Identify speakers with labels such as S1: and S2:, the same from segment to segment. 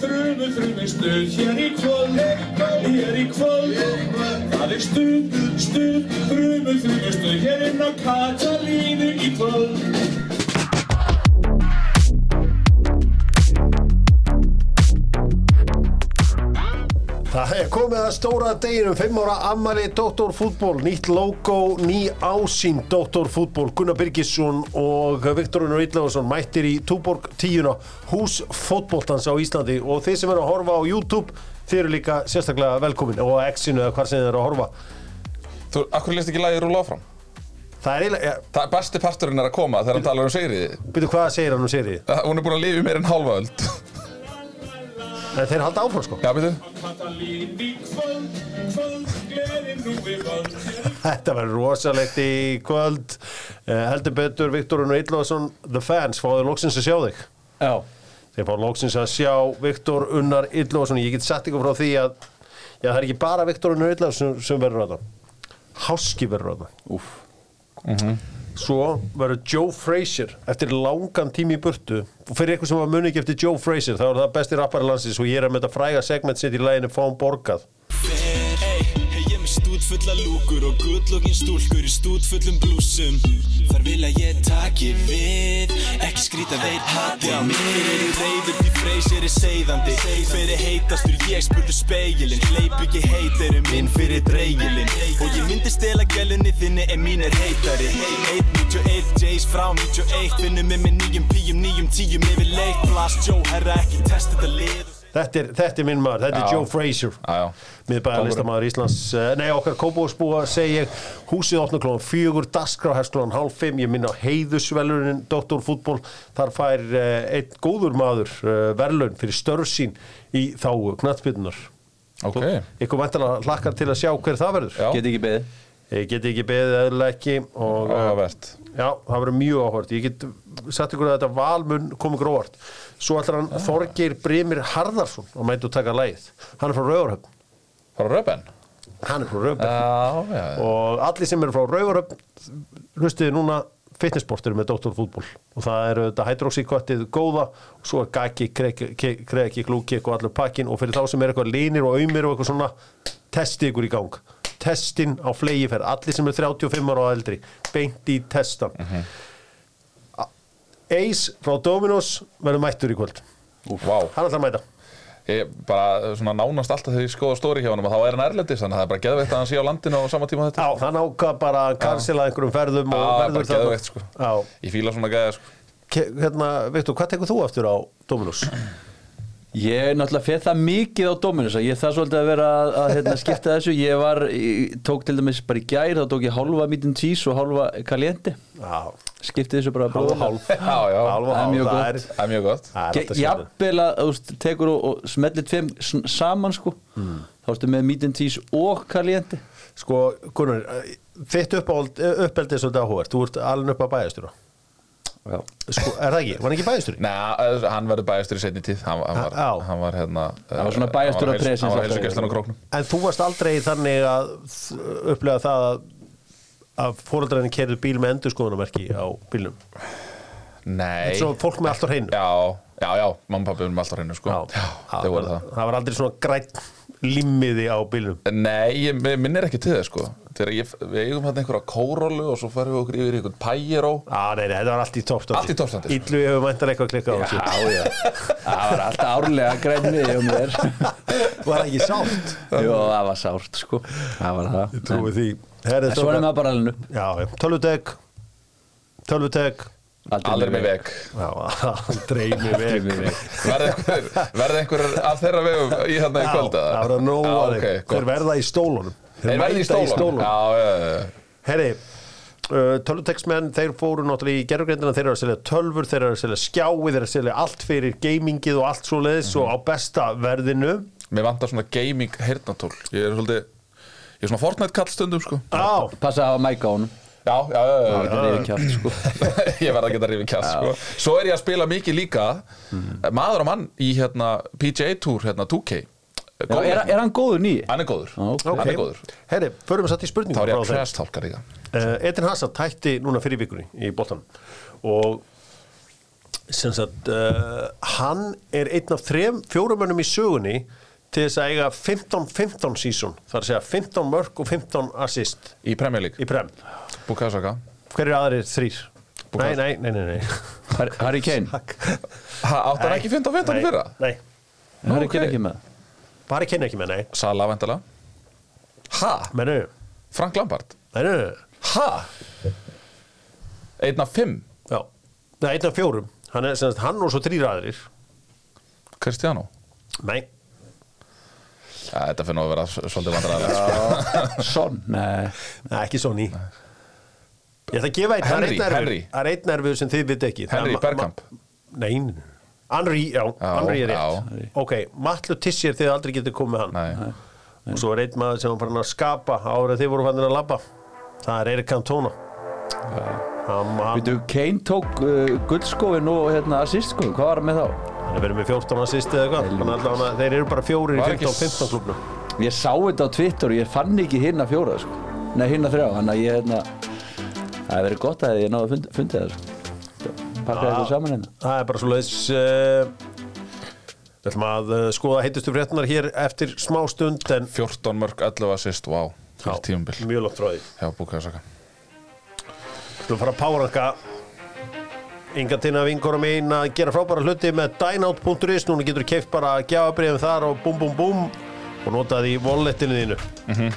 S1: kemur frumið stuð hér í kvöld, hér í kvöld Það er stuð, stuð, frumið frumið stuð hér inn á Katalínu í kvöld
S2: Það er komið að stóra deginum, 5 ára ammali Dóttórfútból, nýtt logo, ný ásýn Dóttórfútból, Gunnar Birgisson og Viktor Unnar Ídlaðarsson mættir í Túborg 10, hús fótboltans á Íslandi og þeir sem eru að horfa á YouTube, þeir eru líka sérstaklega velkomin og á X-inu eða hvar sem þeir eru að horfa.
S3: Þú, akkur leist ekki lagið rúla áfram?
S2: Það er eiginlega, ja,
S3: Það er besti parturinn er að koma þegar hann talar um Sigriði.
S2: byrju hvað segir hann um sérið?
S3: Það- Hún er búin að lifa í meir en hálfa öld.
S2: Nei, þeir halda áfram sko.
S3: Já, býttu?
S1: Katalínu í kvöld, kvöld, gleðin nú við völd hér í
S2: Þetta verður rosalegt í kvöld. Eh, heldur betur Viktor Unnar Ídlaðarsson, The Fans, fáðu loksins að sjá þig.
S4: Já,
S2: Þeir fá loksins að sjá Viktor Unnar Yllóðsson. Ég get sagt ykkur frá því að já, það er ekki bara Viktor Unnar Yllóðsson sem verður að það. Háski verður að það. Úf. Svo verður Joe Frazier eftir langan tími í burtu og fyrir eitthvað sem var muni ekki eftir Joe Frazier þá er það besti rappari landsins og ég er að mynda fræga segment sitt í læginu Fáum Borgað.
S5: Hey, hey, ég er með stút fulla lúkur og guttlokkin stúlkur í stút fullum blúsum Þar vil að ég taki við, ekki skrýta veit hati á mér Þeir eru reyður því freysir er seiðandi Fyrir heitastur ég spurðu speilin Hleyp ekki heit eru minn fyrir dreigilin Og ég myndi stela gælunni þinni en mín er heitari Hey, 891 J's frá 91 Finnum með með nýjum píum, nýjum tíum yfir leitt Blast Joe, herra ekki testa þetta lið
S2: Þetta er, þetta er minn maður, þetta
S3: Já.
S2: er Joe Frazier.
S3: Já, Ah, já.
S2: miðbæðar listamæður Íslands eh, nei okkar Kópavóksbúa segi ég húsið opna klóðan fjögur, dasgrá hefst klóðan hálf fimm, ég minna heiðusvelurinn Dr. Fútból, þar fær eh, einn góður maður eh, verðlaun fyrir störf sín í þá knattbyrnunar
S3: Ok.
S2: ykkur væntanlega hlakkar til að sjá hver það verður
S3: Já.
S4: get ekki beðið.
S2: ég geti ekki beðið eðlilega ekki og eh,
S3: Áhugavert.
S2: já, það verður mjög áhvert ég get sagt ykkur að þetta valmun komi gróvart svo ætlar hann Þorgeir Brimir Harðarsson að mæta og taka lægið hann er frá Rauðurhöfn,
S3: Fara röpen?
S2: hann er frá Rauðurhöfn
S3: Já, já.
S2: og allir sem eru frá Rauvaröfn hlustiði núna fitnessportir með Dr. Fútbol og það eru þetta hydroxykottið góða og svo er gaki, kreki, glúkik og allur pakkin og fyrir þá sem er eitthvað línir og auðmir og eitthvað svona testið ykkur í gang testin á flegiferð, allir sem eru 35 ára og eldri, beint í testan
S3: Mhm.
S2: A- Ace frá Dominos verður mættur í kvöld
S3: Vá.
S2: hann ætlar að mæta
S3: Ég bara eh, svona nánast alltaf þegar ég skoða stóri hjá honum að þá er hann erlendis þannig að það er bara geðveikt að hann sé á landinu á sama tíma og þetta.
S2: á, hann ákvað bara að kansila einhverjum ferðum og
S3: Já,
S2: verður
S3: bara
S2: þarna.
S3: geðveikt sko.
S2: á,
S3: Ég fíla svona geða sko.
S2: Ke- hérna, Viktor, hvað tekur þú aftur á Dominus?
S4: Ég er náttúrulega fyrir það mikið á Dominus að ég þarf svolítið að vera að, að hérna, skipta þessu ég var, ég tók til dæmis bara í gær þá tók ég hálfa mítin tís og hálfa kalienti,
S2: Já,
S4: skipti þessu bara
S2: hálf og hálf
S3: Já, já.
S2: Hálf og
S4: Það er
S2: hálf,
S4: mjög
S2: það
S4: gott.
S2: er
S3: Það er mjög gott.
S2: það er alltaf sérna.
S4: Jafnvel að þú veist, tekur og, og smellir tveim sn- saman sko þá ertu með mítin tís og kalienti
S2: Sko, Gunnar, eh, þitt uppáld, uppeldi er svolítið áhugavert Þú ert alveg upp að bæjastjóra
S4: Já,
S2: Sko, er það ekki? Var hann ekki bæjastjóri?
S3: Nei, eh, hann verður bæjastur í setni tíð. Hann, hann,
S2: Já.
S3: var, hann var hérna... eh,
S4: var svona
S3: hann
S4: bæjarstjóra
S3: heils-
S4: presens
S3: Hann var
S4: alltaf.
S3: heilsugeslan á króknum.
S2: En þú varst aldrei þannig að þ- upplega það að að fóreldrarinn kerðu bíl með endurskoðunamerki á bílnum
S3: Nei.
S2: Svo fólk með allt á hreinu
S3: Já, já, já, mamma og pappi erum alltaf hreinu sko Já, þau voru það
S2: Það var aldrei svona grætt limmiði á bílnum
S3: Nei, ég mig minnir ekki til það sko Þegar ég, við eigum hérna einhverja kórólu og svo færum við okkur yfir í einhvern pæjero
S2: Á, Ah, nei, nei, þetta var allt í toppstandi
S3: Allt í toppstandi, sko.
S2: Illu hefur mæntar eitthvað klikkað á þessu
S4: já Það var alltaf árlega grænni um þér
S2: Var það ekki sátt?
S4: Jó, það var sárt sko Það var það
S2: Trúið því Herri,
S4: En Svo er
S2: strákar.
S4: maður bara alveg upp
S2: Já, já. tölvutek Tölvutek
S3: Allir með veg
S2: Já, aldrei með veg
S4: Allir með veg.
S3: Verði einhver, verði einhver af þeirra vegum í hérna í
S2: Já,
S3: kvöld eða?
S2: það verða nóg
S3: Já,
S2: að
S3: ok,
S2: þeim Þeir
S3: gott.
S2: verða í stólunum
S3: Þeir verði í
S2: mæta
S3: stólunum Já, já, já, já
S2: Herri, uh, tölvuteksmenn, þeir fóru náttúrulega í gerðugrindina, þeir eru að selja tölvur, þeir eru að selja skjái, þeir eru að selja allt fyrir gamingið og allt svo leiðis
S3: Mhm.
S2: og á besta verðinu
S3: Mér vantar svona gaming heyrnatól Ég er svolítið Ég er svona Fortnite kall stundum sko
S2: Á,
S4: Passa að hafa mæk á honum
S3: Já, já, já, já, já.
S4: Það er yfir kjátt sko
S3: ég verða að geta rifið kjast sko. svo er ég að spila mikið líka maður og mann í hérna, PGA-túr hérna, 2K
S4: Mhm. Já, er, er hann góður nýi?
S3: hann er góður,
S4: Já, ok.
S3: hann er góður
S2: Herri, förum við satt í
S3: þá
S2: spurningum
S3: er ég
S2: frá
S3: að
S2: þeim
S3: crash talka líka
S2: Eh, Uh, Edin Hazard tætti núna fyrir vikunni í boltanum og sem sagt, uh, hann er einn af þrem, fjórumönnum í sögunni til þess að eiga 15-15 season, það er að segja 15 mörg og 15 assist
S3: í Premier League,
S2: í prem
S3: Bukasaka
S2: hver eru aðrir þrýr? Nei,
S3: Bukayo.
S2: nei, nei, nei, nei.
S4: Har- Harry Kane,
S3: Ha, átti hann ekki 15 15
S2: Nei,
S3: í fyrra?
S2: Nei,
S3: Nú,
S4: Harry
S3: ok.
S4: Kane ekki með
S2: bara kynna ekki með, nei
S3: Sala vendala Ha?
S2: Menu,
S3: Frank Lampard?
S2: menu,
S3: Ha? Einn af fimm
S2: já Nei, einn af fjórum, hann er sem sagt hann og svo þrýr aðrir
S3: Cristiano?
S2: Nei,
S3: Ja, þetta finnum að vera s- svolítið sko. vandræðar
S4: Son, nei
S2: Nei, ekki Sony Ég ætla að gefa einn
S3: Henry,
S2: það er einn
S3: Henry.
S2: nervur- það er einn nervur sem þið viti ekki Það er
S3: Henry
S2: ma- ma-
S3: Bergkamp.
S2: Nei, Henry, já,
S3: Já,
S2: Henry er rétt
S3: já.
S2: Ok, Matlu Tissier þið aldrei getið komið með hann
S3: Nei,
S2: Og svo er einn maður sem var farin að skapa Árið þið voru farin að labba Það er Erik Cantona Hann, hann,
S4: Veitu, Kane tók uh, guldskóin og hérna, assistskóin, hvað var hann með þá?
S2: hann er verið með 14 assist eða eitthvað Þannig að allavega hann- þeir eru bara fjórir í
S3: Var ekki
S2: 15-15 klubnum
S4: Ég sá þetta á Twitter og ég fann ekki hinna fjóra, sko Nei, hinna þrjá, hann að ég, hérna Það hefði verið gott að ég náði að fund, fundið það, sko Pakkaði þetta saman hérna
S2: Það er bara svo leiðis Við ætlum að eh, skoða heitustu fréttunar hér eftir smá stund en
S3: 14 mörg 11 assist, vá Fyrir tímumbil
S2: mjög langt frá því
S3: hjá Bukasaka
S2: Þú fara að páranka Inga tina vinkora mín að gera frábæra hluti með dynout.is Núna getur þú keift bara gjafabriðum þar og búm búm búm og nota því í walletinu þínu
S4: Mhm.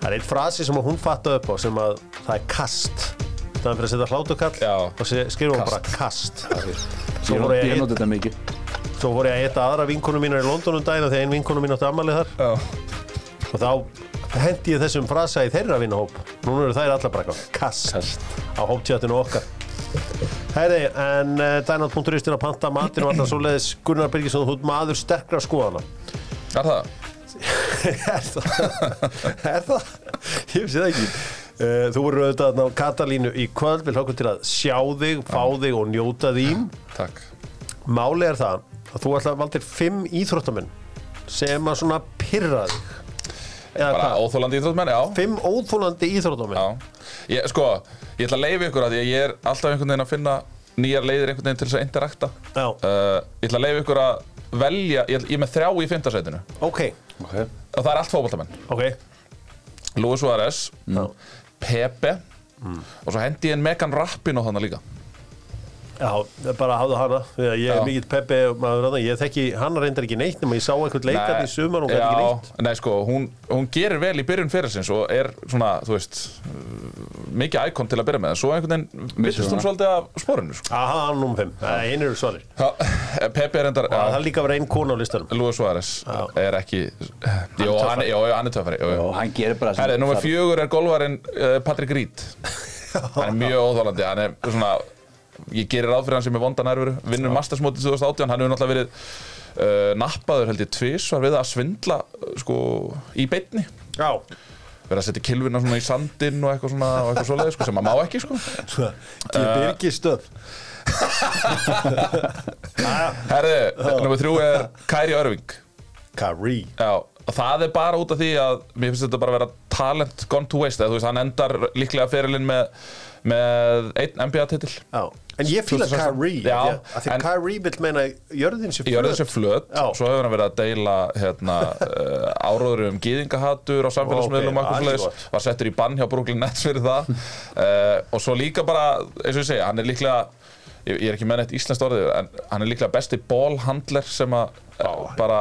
S2: Það er einn frasi sem hún fattaði upp á sem að það er kast Það er fyrir að setja hlátukall
S3: Já.
S2: og se- skrifa hún bara kast Svo
S4: Ég,
S2: voru
S4: ég,
S2: ég
S4: ég
S2: að
S4: noti þetta mikið
S2: Svo voru ég að etta aðra vinkonum mínar í London um daginn af því að ein vinkonum mín átti ammalið þar
S3: Já.
S2: og þá hendi ég þessum frasa í þeirra vinnahóp núna eru þær allar bara eitthvað kast, á hóptjáttinu okkar Herri, en uh, dænat.ristin að panta matinn og alltaf svo leiðis Gunnar Birgisson, þú ert maður sterkra skoðana
S3: Er það?
S2: Er það? Er það? Ég vissi það ekki Uh, þú voru auðvitað þarna á Katalínu í kvöld við hlokkum til að sjá þig, fá þig og njóta þín
S3: Takk
S2: Máli er það að þú ætla að valdir fimm íþróttamenn sem að svona pirra þig eða
S3: Bara
S2: hvað?
S3: óþólandi íþróttmenn, já
S2: Fimm óþólandi íþróttamenn
S3: Já, ég, sko, ég ætla að leiði ykkur að því að ég er alltaf einhvern veginn að finna nýjar leiðir einhvern veginn til þess að interakta
S2: Já.
S3: uh, Ég ætla að leiði ykkur að velja, ég, ætla- ég er með þrjá í fimmtasætinu og
S2: Ok,
S4: okay.
S3: það er allt fótboltamenn
S2: ok
S3: Luis Suárez,
S2: Já,
S3: Pepe
S2: Mm.
S3: og svo hendi ég inn Megan Rappin og þannig líka
S2: já bara hafðu hana Því að Ég er
S3: Já.
S2: mikill peppi maður þarna Ég þekki, hann reyndar ekki neitt nema ég sá eitthvað leikarn í sumar og hún gæti ekki neitt
S3: já, nei sko, hún, hún gerir vel í byrjun fyrirsins og er svona, þú veist uh, mikið íkon til að byrja með en svo einhvern veginn
S4: Missir
S3: vissist hún svolítið af sporinu sko.
S2: Aha, hann um fimm, einu eru svarir
S3: Já, Pepe er endar
S2: Það er líka að vera ein kona á listanum
S3: Luis Suárez
S2: Já.
S3: er ekki Jó, hann,
S2: töffari.
S3: jó, jó, hann er töffari jó, jó.
S4: Og hann gerir bara
S3: Herri, nummer fjögur er golvarinn uh, Patrick Reed Hann er mjög óþólandi Hann er svona Ég gerir ráð fyrir hann sem er vonda nervur Vinnur mastersmótið 2018 Hann hefur náttúrulega verið uh, Nappaður held ég tvis Var við að svindla uh, sko, Í beinni
S2: Já,
S3: Verið að setja kilvina svona í sandinn Og eitthvað svona Og eitthvað svoleiði sko, Sem maður má ekki sko
S2: ég
S3: Eh.
S2: byrgi stöð
S3: Herri, nummer þrjú er Kæri Örving
S2: Kari
S3: Já, og það er bara út af því að mér finnst þetta bara að vera talent gone to waste eða þú veist, hann endar líklega ferilinn með, með einn NBA-titil
S2: Já, en ég fíla
S3: 2016.
S2: Kari
S3: Já,
S2: Því að
S3: en-
S2: Kari vill meina jörðin sé
S3: í
S2: flöt.
S3: örðu sem flöt,
S2: Já.
S3: svo hefur hann verið að deila hérna, uh, áróður um gýðingahatur á samfélagsmiðlum
S2: Ó,
S3: og
S2: ok,
S3: eitthvað
S2: allt
S3: slags, var settur í bann hjá Brooklyn Nets fyrir það uh, og svo líka bara, eins og ég segja, hann er líklega ég, ég er ekki með neitt íslenskt orðið en hann er líklega besti ballhandler sem að eh, bara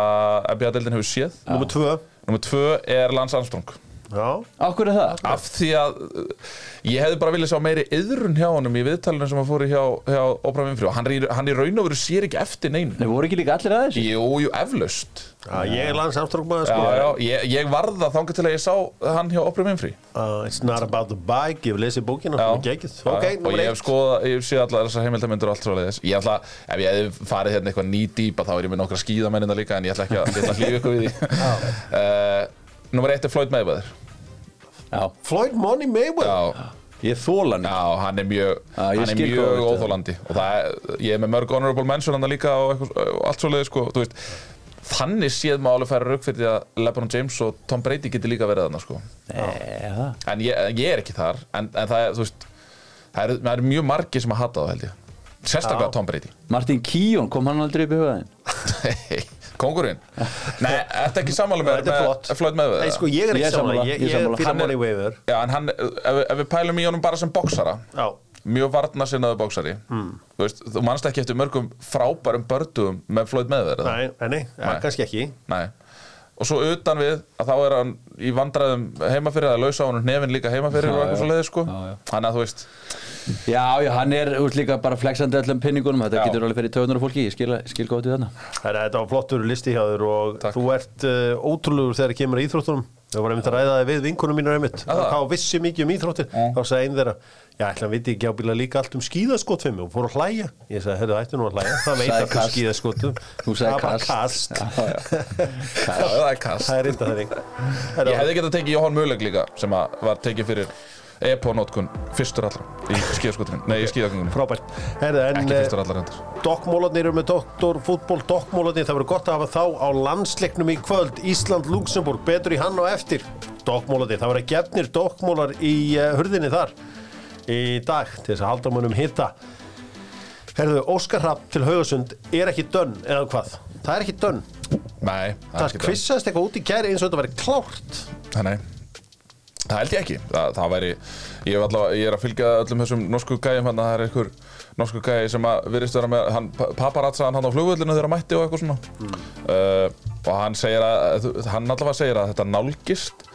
S3: NBA-deildin hefur séð
S2: Númer tvö
S3: Númer tvö er Lance Armstrong
S2: Já,
S4: Akkur er það?
S3: af því að uh, ég hefði bara viljað sjá meiri yðrun hjá honum í viðtalinu sem að fóri hjá, hjá Oprah Winfrey og hann, rý- hann í raun og veru sér ekki eftir neinu
S4: Nei, voru ekki líka allir að þessu?
S3: Jú, jú, eflaust
S2: Já, Ah, ég er landsamströkk maður
S3: Já,
S2: sko
S3: já, ég, ég varða þangað til að ég sá hann hjá Oprah Winfrey
S2: Uh, It's not about the bike, ég hef lesið bókina
S3: Já.
S2: hún er geggjuð.
S3: Já,
S2: Ok,
S3: og
S2: nummer
S3: ég hef sko-
S2: eitt
S3: skoðað, ég hef séð allar þessar heimildamindur og allt svo leiðis Ég ætla, ef ég hefði farið hérna eitthvað nýdýpa þá er ég með nokkra skíðamennina líka en ég ætla ekki að, ég ætla að hlýfa ykkur við því uh, Númer eitt er Floyd Mayweather
S4: Já,
S2: Floyd Money Mayweather
S3: Já,
S4: ég þóla hann
S3: Já, hann er mjög,
S4: Já, ég
S3: hann er
S4: skil hvað
S3: mjög
S4: þú ert.
S3: óþólandi og það er, ég er með mörg honorable mention hann líka og, eitthvað, og allt svo leiði sko, þú veist Þannig séð maður alveg færa rauk fyrir því að LeBron James og Tom Brady geti líka verið þarna sko
S4: Já,
S3: En ég, ég er ekki þar, en, en það er, þú veist Það eru er mjög margi sem að hata það held ég sérstaklega Tom Brady
S4: Martin Kíón, kom hann aldrei upp í hugaðin?
S3: Kongurinn Nei, ertu ekki sammála með,
S2: Þetta er flott.
S3: með Floyd Mayweather?
S2: Nei, sko, ég er ekki
S4: Ég er sammála,
S2: samanlega, ég,
S4: ég er
S2: ég
S4: sammála.
S2: fyrir
S4: Hann
S2: Money Waver
S3: Já, en hann, ef, ef við pælum í honum bara sem boksara
S2: Já,
S3: mjög varnasinnaðu boksari mm. þú, veist, þú manst ekki eftir mörgum frábærum bördum með Floyd Mayweather
S2: nei, nei, ja,
S3: Nei.
S2: kannski ekki
S3: Nei. og svo utan við að þá er hann í vandræðum heima fyrir að lausa á hann nefin líka heima fyrir og eitthvað
S4: já.
S3: svo leiði sko
S4: Já, já.
S3: þannig að þú veist
S4: Já, já, hann er úr líka bara flexandi öllum pinningunum, þetta
S3: Já.
S4: getur alveg fyrir töðunar og fólki, ég skil, skil gótt við þarna
S2: Herra, Þetta var flottur listi hjá þér og
S3: Takk.
S2: þú ert uh, ótrúlegur þegar kemur að íþróttunum Þau var einmitt að ræða þig við vinkunum mínar einmitt
S3: það?
S2: Þá vissi mikið um íþróttir Þá sagði einn þeirra Já, ætla hann viti ekki ábíla líka allt um skíðaskotfimmu og fór að hlæja Ég sagði, herru, hættu nú að hlæja Það veit
S4: Sagði
S2: allt um
S4: kast.
S2: skíðaskotum
S4: Þú sagði
S2: Það var
S4: kast.
S2: kast
S3: já, það er kast
S2: Það er reynda það þing
S3: ég
S2: Herra,
S3: hefði getað tekið Jóhann Möleg líka sem að var tekið fyrir epo-nótkun fyrstur allra í skíðaskotinu nei, í skíðagöngunum
S2: Frábært Herra, en
S3: ekki
S2: eh,
S3: fyrstur allra hendur
S2: Dokkmólarnir eru með doktorfútból Dokkmólarnir, það verður gott að hafa þá á landsleiknum í kvöld, Ísland-Luxemburg betur í hann og eftir Dokkmólarnir, það verður gefnir dokkmólar í uh, hurðinni þar í dag til þess að halda mönnum hitta Herðu, Óskar Hrapp til Haugasund er ekki dönn eða hvað? Það er ekki dönn,
S3: nei, er
S2: það
S3: ekki
S2: kvissast eitthvað út í kæri eins og þetta verður klárt
S3: Nei, Nei, það held ég ekki Það, það væri, ég, hef allavega, ég er að fylgja öllum þessum norsku gæjum hann Það er einhver norsku gæji sem að virðist vera með hann, Paparazzaðan hann á flugvöllinu þegar hann mætti og eitthvað svona uh, Og hann segir að, hann allavega segir að þetta nálgist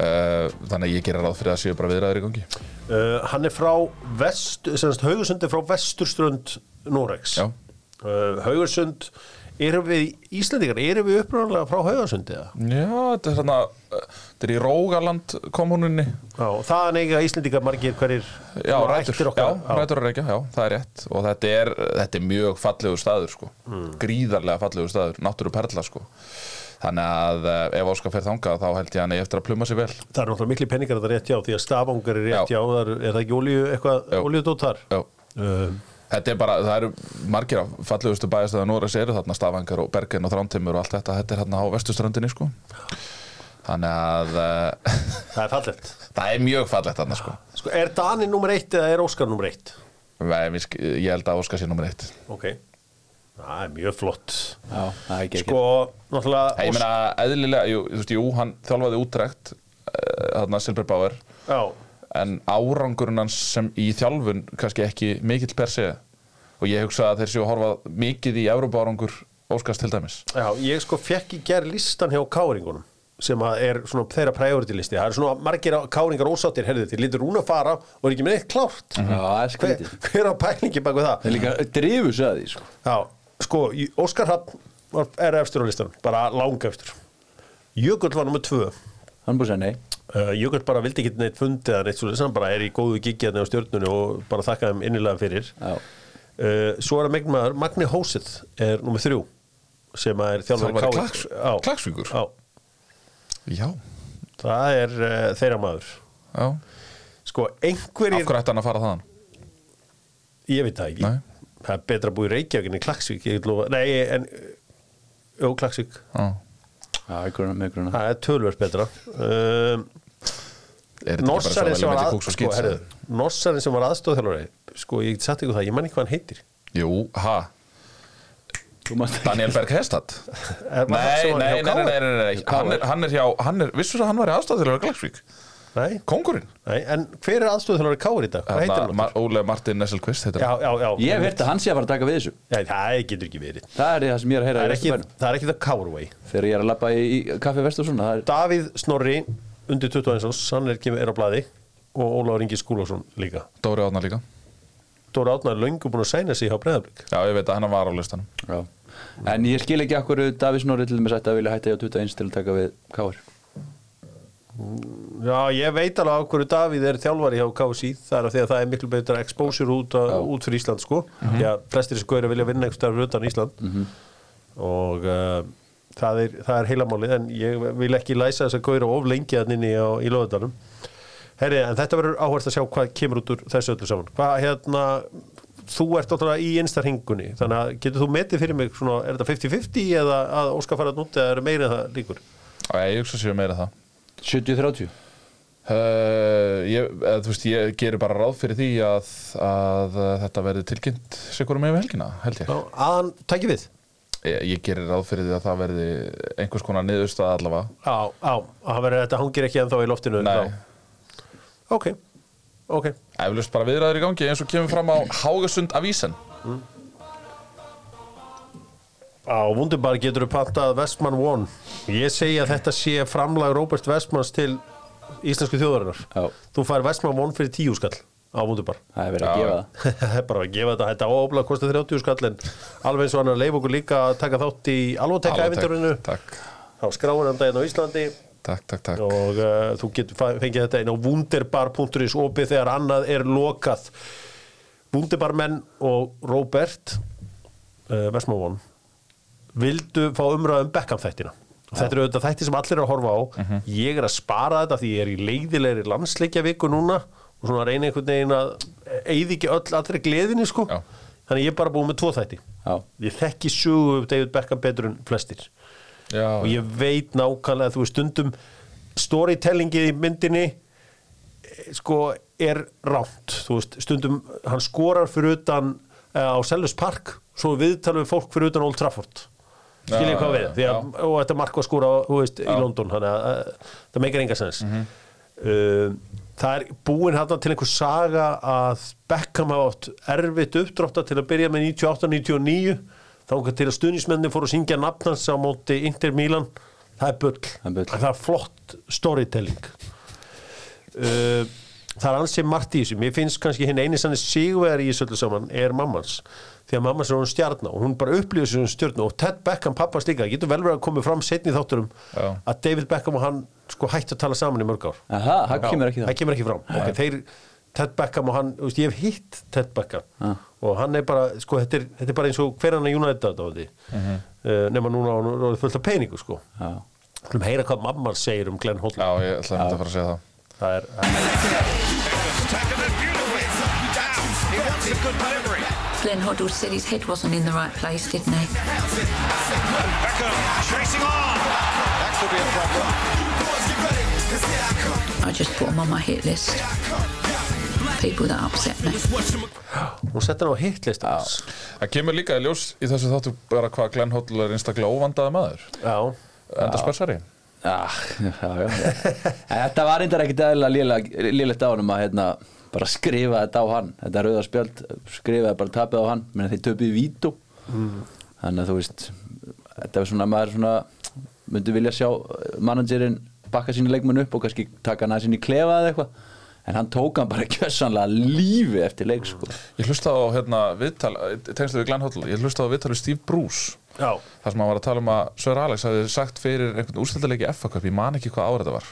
S3: uh, Þannig að ég gerir ráð fyrir að séu bara viðræður í gangi
S2: Uh, hann er frá vest, semst, Haugasund er frá vesturströnd Noregs
S3: Já.
S2: uh, Haugasund erum við Íslandingar, erum við uppröðanlega frá Haugasund eða?
S3: Já, þetta er svona, uh, þetta er í Rógaland kommuninni
S2: Já, og þaðan eiga Íslandingar margir hverjir
S3: Já,
S2: svona
S3: rætur, já,
S2: okkar Já.
S3: rætur að reykja, já, það er rétt og þetta er, þetta er mjög fallegur staður sko,
S2: Mm.
S3: gríðarlega fallegur staður náttúru perla sko þannig að eh, ef Óskar fer þangað þá held ég hann eigi eftir að pluma sig vel
S2: Það er náttúrulega miklu peningar að það rétt hjá því að stafangar er rétt
S3: Já.
S2: hjá þar, er það ekki olíu eitthvað,
S3: Jú.
S2: olíudótt þar?
S3: já.
S2: Um,
S3: Þetta er bara, það eru margir af fallegustu bæjastöða Nóres eru þarna Stavangar og Bergen og Þrántimur og allt þetta, þetta er þarna á vestuströndinni sko þannig að eh,
S2: það er fallegt
S3: það er mjög fallegt þarna sko
S2: sko, Er Dani nummer eitt eða er Óskar nummer eitt?
S3: Nei, mér sk- ég held að Óskar sé nummer eitt
S2: Ok, það er mjög flott
S4: Já, það er ekki
S2: Sko, náttúrulega
S3: Ég meina, eðlilega, jú, þú veist, jú, hann þjálfaði útrekt þarna Silber Bauer
S2: Ósk- Já,
S3: en árangurinn hans sem í þjálfun kannski ekki mikill per se og ég hugsa að þeir séu að horfa mikið í Európa árangur Óskars til dæmis
S2: Já, ég sko fekk í gerð listan hjá káringunum sem að er svona þeirra priority listi það er svona margir á- káringar ósáttir herðið til lítur hún að fara og er ekki með eitt klárt
S4: Já, það er
S2: hver,
S4: Mhm. skrítið
S2: hver á pælingi bak við
S4: Það
S2: það
S4: er líka drifus að því, sko
S2: Já, sko, í- Óskar Hrapp var- er efstur á listanum, bara langa efstur Jökull var nummer tvö
S4: Hann er búið að segja nei
S2: Uh, Jökull bara vildi ekki neitt fundi eða neitt svolítið, hann bara er í góðu gigjaðni á stjörnunni og bara þakka þeim innilega fyrir.
S4: Já.
S2: Uh, svo er að megn maður, Magni Hósið er nummið þrjú, sem að er þjálfari
S3: Þjálfari
S2: KR.
S3: Klakks-
S2: Já.
S3: Klaksvíkur?
S2: Já,
S3: Já,
S2: það er uh, þeirra maður.
S3: já
S2: Sko,
S3: Af
S2: einhverjir,
S3: hverju ætti hann að fara þaðan?
S2: ég veit það ekki,
S3: Nei.
S2: það er betra að búa í Reykjavík en í Klaksvík, ég get lofa, nei, en, jó, Klaksvík,
S3: Já.
S4: Já, einhverjum, einhverjum
S2: það er tölvöld betra. Um,
S3: Er þetta
S2: Norsarinn sem
S3: ekki bara svo velja
S2: var,
S3: myndi
S2: að,
S3: kúks og
S2: sko,
S3: skýt?
S2: herðu, Norsarinn sem var aðstofþjálfari, sko, ég get sagt ykkur það, ég man ekki hvað hann heitir.
S3: Jú, ha,
S4: Þú mást ekki
S3: Daniel Berg Hestad
S2: Er- var hann
S3: nei,
S2: sem
S3: nei,
S2: var
S3: nei,
S2: hjá KR?
S3: nei, nei, nei, nei. Hann, er, hann er hjá, hann er, vissur að hann var í aðstæð til að vera Glagsvík?
S2: Nei,
S3: Kongurinn?
S2: nei, en hver er aðstofþjálfari Káur í dag? Hvað heitir hann?
S3: Mar Óle Martin Nesselqvist heitir
S2: Já,
S3: hann
S2: já, já.
S4: Ég hef hirt að hann sé að fara að taka við þessu
S2: Nei, það getur ekki verið.
S4: Það er það sem ég er að heyra
S2: Það er
S4: í næstu
S2: ekki
S4: bænum.
S2: það, er ekki það Káurvei.
S4: Þegar ég er að labba í, í kaffi vest og svona Það er
S2: Davíð Snorri, undir 21 árs, hann er, kemur- er á blaði og Óláður Ingi Skúlásson líka.
S3: Dóri Átnar líka
S2: Dóra Átnar er löngu búin að sæna sig hjá Breiðablík.
S3: Já, ég veit að hann var á listanum
S4: Já. En ég skil ekki akkur Davís Norri til dæmis ætti að vilja hætta hjá 21 til að taka við Káar
S2: Já, ég veit alveg á hverju Davíð er þjálfari hjá KSI, það er af því að það er miklu betra exposure út, að, út fyrir Ísland, sko. Mm Já, flestir þessi gauður vilja vinna einhvers staðar utan Ísland og uh, það, er, það er heilamálið, en ég vil ekki læsa þessa gauður of lengi að nynni á, í löðundanum. Herri, en þetta verður áhverst að sjá hvað kemur út úr þessu öllu saman. Hvað, hérna, þú ert náttúrulega í einstarhingunni, þannig að getur þú metið fyrir mig svona, er þetta 50-50 eða að Óskar fara að núti eða er meira en það líkur?
S3: Já, ég hugsa sér meira það
S4: 70-30
S3: Uh, ég, eða, þú veist, ég gerir bara ráð fyrir því að, að uh, þetta verði tilkynnt sikkur um yfir helgina, held ég.
S2: Já, að hann tæki við
S3: ég Ég gerir ráð fyrir því að það verði einhvers konar niðurstað allavega
S2: Já, já, að hann verður þetta hangir ekki ennþá í loftinu
S3: Nei,
S2: þá. Ok, ok
S3: eflust bara viðræður í gangi eins og kemur fram á Hágasund Avísen
S2: Á Wunderbar getur þú pantað Vestmann One Ég segi að þetta sé framlag Robert Vestmanns til íslensku þjóðarinnar
S4: Já.
S2: Þú fær Vestmann One fyrir tíu skall á Wunderbar
S4: Það er verið að
S3: Já.
S4: gefa það
S2: Það er bara að gefa þetta þetta óblag kostið 30 skall en alveg eins og hann er að leifa okkur líka að taka þátt í alvotekka efinturinu
S3: Takk,
S2: á skráinandaginn á Íslandi
S3: takk, takk, takk.
S2: og uh, þú getur fa- fengið þetta inn á wunderbar.is opið þegar annað er lokað Wunderbarmenn og Robert uh, Vesmávon vildu fá umræðum Beckham þættina og þetta eru auðvitað þætti sem allir eru að horfa á
S3: Mhm.
S2: ég er að spara þetta því ég er í leiðilegri landsleikja viku núna og svona reyna einhvern veginn að eyði ekki öll allri gleðinni sko
S3: Já.
S2: þannig ég er bara búið með tvo þætti
S4: Já.
S2: ég þekki sögu David Beckham betur en flestir
S3: Já,
S2: og ég veit nákvæmlega þú veist stundum storytellingið í myndinni eh, sko er rámt þú veist stundum hann skorar fyrir utan uh, á Selvis Park svo viðtalum við fólk fyrir utan Old Trafford skiljið
S3: Já,
S2: hvað við
S3: já,
S2: því að, og þetta mark var skora þú veist, í London þannig að eh, það meikar enga sens uh, það er búin hann til einhver saga að Beckham hafa átt erfitt uppdráttar til að byrja með 98-99 þá til að stuðnismenni fóru að syngja nafnans á móti Inter Milan það er bull,
S4: er bull.
S2: En það er flott storytelling uh, það er ansið margt í þessu mér finnst kannski hinn eini sannig sigvegar í þessu öllu saman er mammans því að mammans er hún stjarná og hún bara upplýður sér hún stjarná og Ted Beckham pappans líka getur vel verið að koma fram setni í þátturum
S3: Já.
S2: að David Beckham og hann sko hættu að tala saman í mörg ár
S4: Aha, það kemur ekki
S2: það
S4: það
S2: kemur ekki fram okay, þeir, Ted Beckham og hann, þú veist, ég hef hitt Ted Beckham og hann er bara sko, þetta, er, þetta er bara eins og hver hann að United á því
S3: Mhm.
S2: Eh, nema núna á hann er fullt af peningu sko
S4: Já.
S2: Skulum heyra hvað mamman segir um Glenn Hoddle
S3: já ég ætla að fara að segja það
S2: það er, það
S6: Glenn Hoddle said his head wasn't in the right place, didn't he? I just put him on my hit list. People that upset me.
S2: er, hún setja hann á hitlist já,
S3: Það kemur líka í ljós í þessu þáttu bara hvað Glenn Hoddle er einstaklega óvandaða maður
S2: já.
S3: enda spörsari
S4: Ah, já, já, já. En Þetta var reyndar ekkit eðlilega lélegt á honum að hérna, bara skrifa þetta á hann þetta rauða spjöld, skrifaði bara tapið á hann menn þeir töpuði vító þannig að þú veist þetta var svona, maður svona myndi vilja sjá eh, managerinn bakka sínu leikmenn upp og kannski taka hann að sínu klefa eða eitthvað en hann tók hann bara kjössanlega lífi eftir leik sko.
S3: Ég hlusta á hérna viðtal, tengstu við Glenn Hoddle ég hlusta á viðtal við Steve Bruce
S2: já.
S3: þar sem hann var að tala um að Sir Alex hafði sagt fyrir einhvern úrstildalegi FA-köp, ég man ekki hvað ára þetta var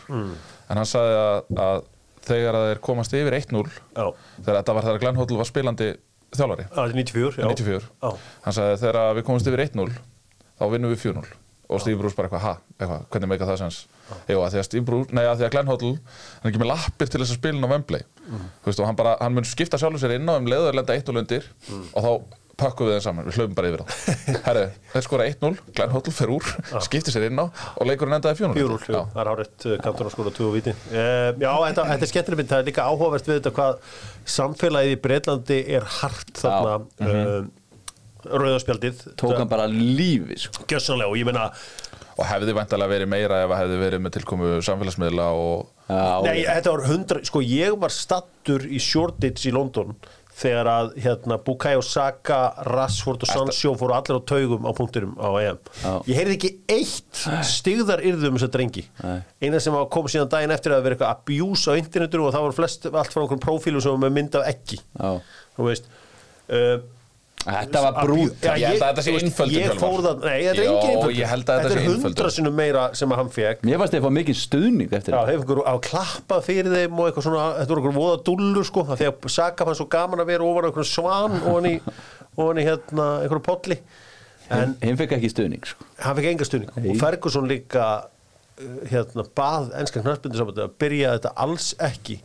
S3: en hann sagði að, að þegar að þeir komast yfir 1-0
S2: Já.
S3: þegar þetta var þegar Glenn Hoddle var spilandi þjálfari,
S2: Það er 94, já.
S3: 94
S2: Já.
S3: hann sagði að þegar að við komast yfir 1-0 þá vinnum við 4-0 og Steve Bruce bara eitthvað, ha, eitthvað, hvernig meika það sens Jú, að því að Steve Bruce, nei að því að Glenn Hoddle hann er ekki með lappir til þess að spilin á Wembley
S2: Mhm.
S3: þú veist og hann bara, hann mun skipta sjálfur sér inn á um leiður lenda 1-0 undir
S2: Mhm.
S3: og þá pakkum við þeim saman, við hlöfum bara yfir þá Herru, þeir skora 1-0, Glenn Hoddle fer úr skiptir sér inn á og leikurinn endaði 4-0
S2: Bjúrúl,
S3: Já.
S2: það er hárætt kantur á skóla 2 og viti. Uh, já, þetta, þetta er skemmtileg mynd, það er líka áhugavert við þetta hvað samfélagið í Breitlandi er hart þarna uh, rauðaspjaldið.
S4: Mhm. tók hann bara lífi sko.
S2: Gjössanlega og ég meina,
S3: og hefði væntalega verið meira ef að hefði verið með tilkomu samfélagsmiðla og
S4: Já,
S2: nei, þetta var hundra, sko ég var stattur í Shoreditch í London þegar að hérna Bukayo Saka, Rashford og Sancho fóru allir á taugum á punkturum á EM.
S4: Já.
S2: Ég heyrði ekki eitt stigðar yrðum þess að drengi.
S4: Nei.
S2: eina sem var- kom síðan daginn eftir að vera eitthvað abuse á internetinu og það var flest allt frá einhverjum prófílum sem var með mynd af ekki
S4: Já.
S2: þú veist uh,
S4: þetta var brúð
S2: Já,
S3: Ég held að þetta sé
S2: þú veist,
S3: einföldun,
S2: Ég
S3: Hjálmar.
S2: fór það, nei, þetta er
S3: Jó,
S2: engin einföldun
S3: ég held að þetta sé
S2: er
S3: einföldun.
S2: hundra sinnum meira sem að hann fekk
S4: mér fannst þeir fá mikið stuðning eftir
S2: Já,
S4: þetta
S2: hefur einhver á klappa fyrir þeim og eitthvað svona, þetta voru einhver voða dullur sko, af því að Saka fann svo gaman að vera ofan á einhverjum svan og hann í, og hann í hérna, einhverjum polli en
S4: hinn fekk ekki stuðning sko.
S2: hann fekk enga stuðning og Ferguson líka uh, hérna, bað ennska knarsbyndisambandi að byrja þetta alls ekki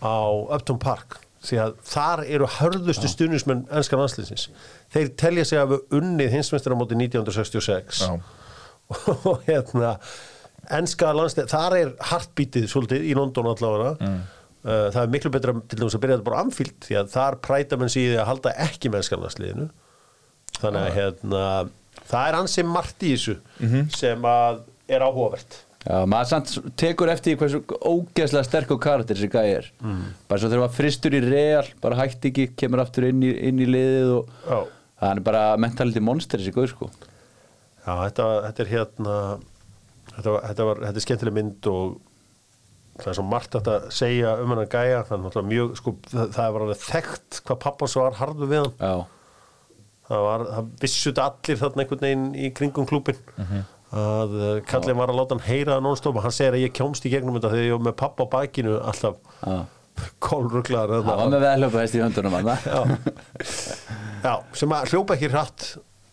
S2: á Upton Park því að þar eru hörðustu stuðnismenn ennska landsliðsins þeir telja sig að við unnið hinsmestara móti 1966
S3: Já.
S2: og hérna enska landslið, þar er hartbítið svolítið í London allavega uh, það er miklu betra til dæmis að byrja þetta bara amfíld því að þar præta menn síði að halda ekki með enska landsliðinu þannig að hérna, það er ansi margt í þessu sem að er áhugavert
S4: Já, maður samt tekur eftir því hversu ógeðslega sterkur karakter þessi gæi er bara svo þegar maður fristur í real bara hætti ekki, kemur aftur inn í, inn í liðið og
S2: Já.
S4: hann er bara mentality monster þessi gauð sko
S2: Já, þetta, þetta er hérna þetta, var, þetta, var, þetta er skemmtileg mynd og það er svo margt hægt að segja um hennar gæja það er náttúrulega mjög, sko, það, það var alveg þekkt hvað pappans var harðu við hann
S4: Já,
S2: það, var, það vissu þetta allir þarna einhvern veginn í kringum klúbin
S3: Mhm.
S2: að uh, kallin var að láta hann heyra það non-stop og hann segir að ég kjómst í gegnum þetta þegar ég var með pappa á bakinu alltaf
S4: já.
S2: kólruglar
S4: hann var með veðlöpa í höndunum hann
S2: já. já, sem að hljópa ekki hratt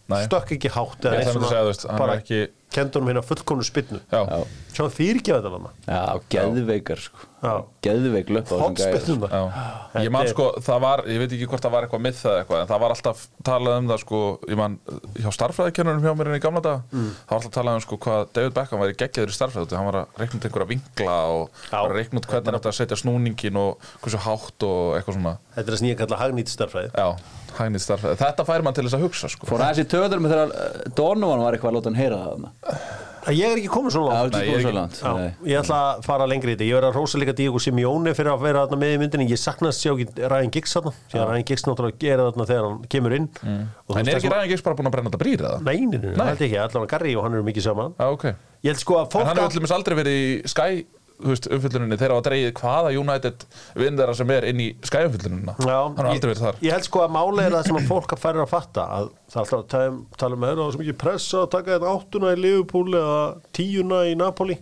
S3: Nei.
S2: stökk ekki hátt eða
S3: Ég
S2: neitt
S3: ætla að
S2: svona,
S3: segja, þú veist, hann
S2: bara
S3: var ekki-
S2: kendur hann hérna fullkonu spinnu
S3: Já,
S4: Já,
S2: Sjá hann fyrirgefa þetta lama
S4: já geðveikar sko
S2: Já.
S4: Geðveik löpa á þessum gæja sko.
S2: Hotspinnuna
S3: já. Ég man sko, það var, ég veit ekki hvort það var eitthvað myth eða eitthvað, en það var alltaf talað um það sko, ég man, hjá starffræðikennunum hjá mér inn í gamla dag,
S2: Mm.
S3: það var alltaf talað um sko hvað David Beckham væri geggjaður í starffræði, hann var að reikna út einhverja vinkla og
S2: Já.
S3: var að reikna út hvernig hann átti að setja snúningin og hversu hátt og eitthvað svona,
S2: Þetta er það sem ég kalla hagnýtt starfræði
S3: já, hægnið starffræði. Þetta fær mann til þess að hugsa sko.
S4: Fór aðeins í töður með þegar uh, Donovan var eitthvað að láta hann heyra það þarna.
S2: Ég er ekki komið svona
S4: Já,
S2: langt
S4: þetta
S3: Nei,
S4: er
S3: ég er ekki-
S4: búin svo langt
S2: Já,
S4: Nei.
S2: Ég ætla að fara lengri í þetta Ég verð að rósa líka Díko Simjóni fyrir að vera þarna með í myndinni Ég saknaði að sjá ekki Ryan Giggs þarna Því að Ryan Giggs náttúrulega gera þarna þegar hann kemur inn mm.
S3: En er ekki Ryan Giggs bara búin að brenna þetta brýr eða?
S2: Nei, nei, nei, held ekki, allan að Garri og hann eru mikið saman
S3: Já, ok.
S2: Ég held sko að
S3: En
S2: fólk
S3: hann hefur til dæmis aldrei verið í Sky þú veist, umfylluninni þegar það var dreigið hvaða United vinn þeirra sem er inn í Sky umfyllunina hann hérna. hefur aldrei verið þar
S2: Ég held sko að máli er það sem að fólk að færa að fatta að það er alltaf að tala um- tala um að það er svo mikið pressa að taka þetta áttuna í Liverpool eða tíuna í Napoli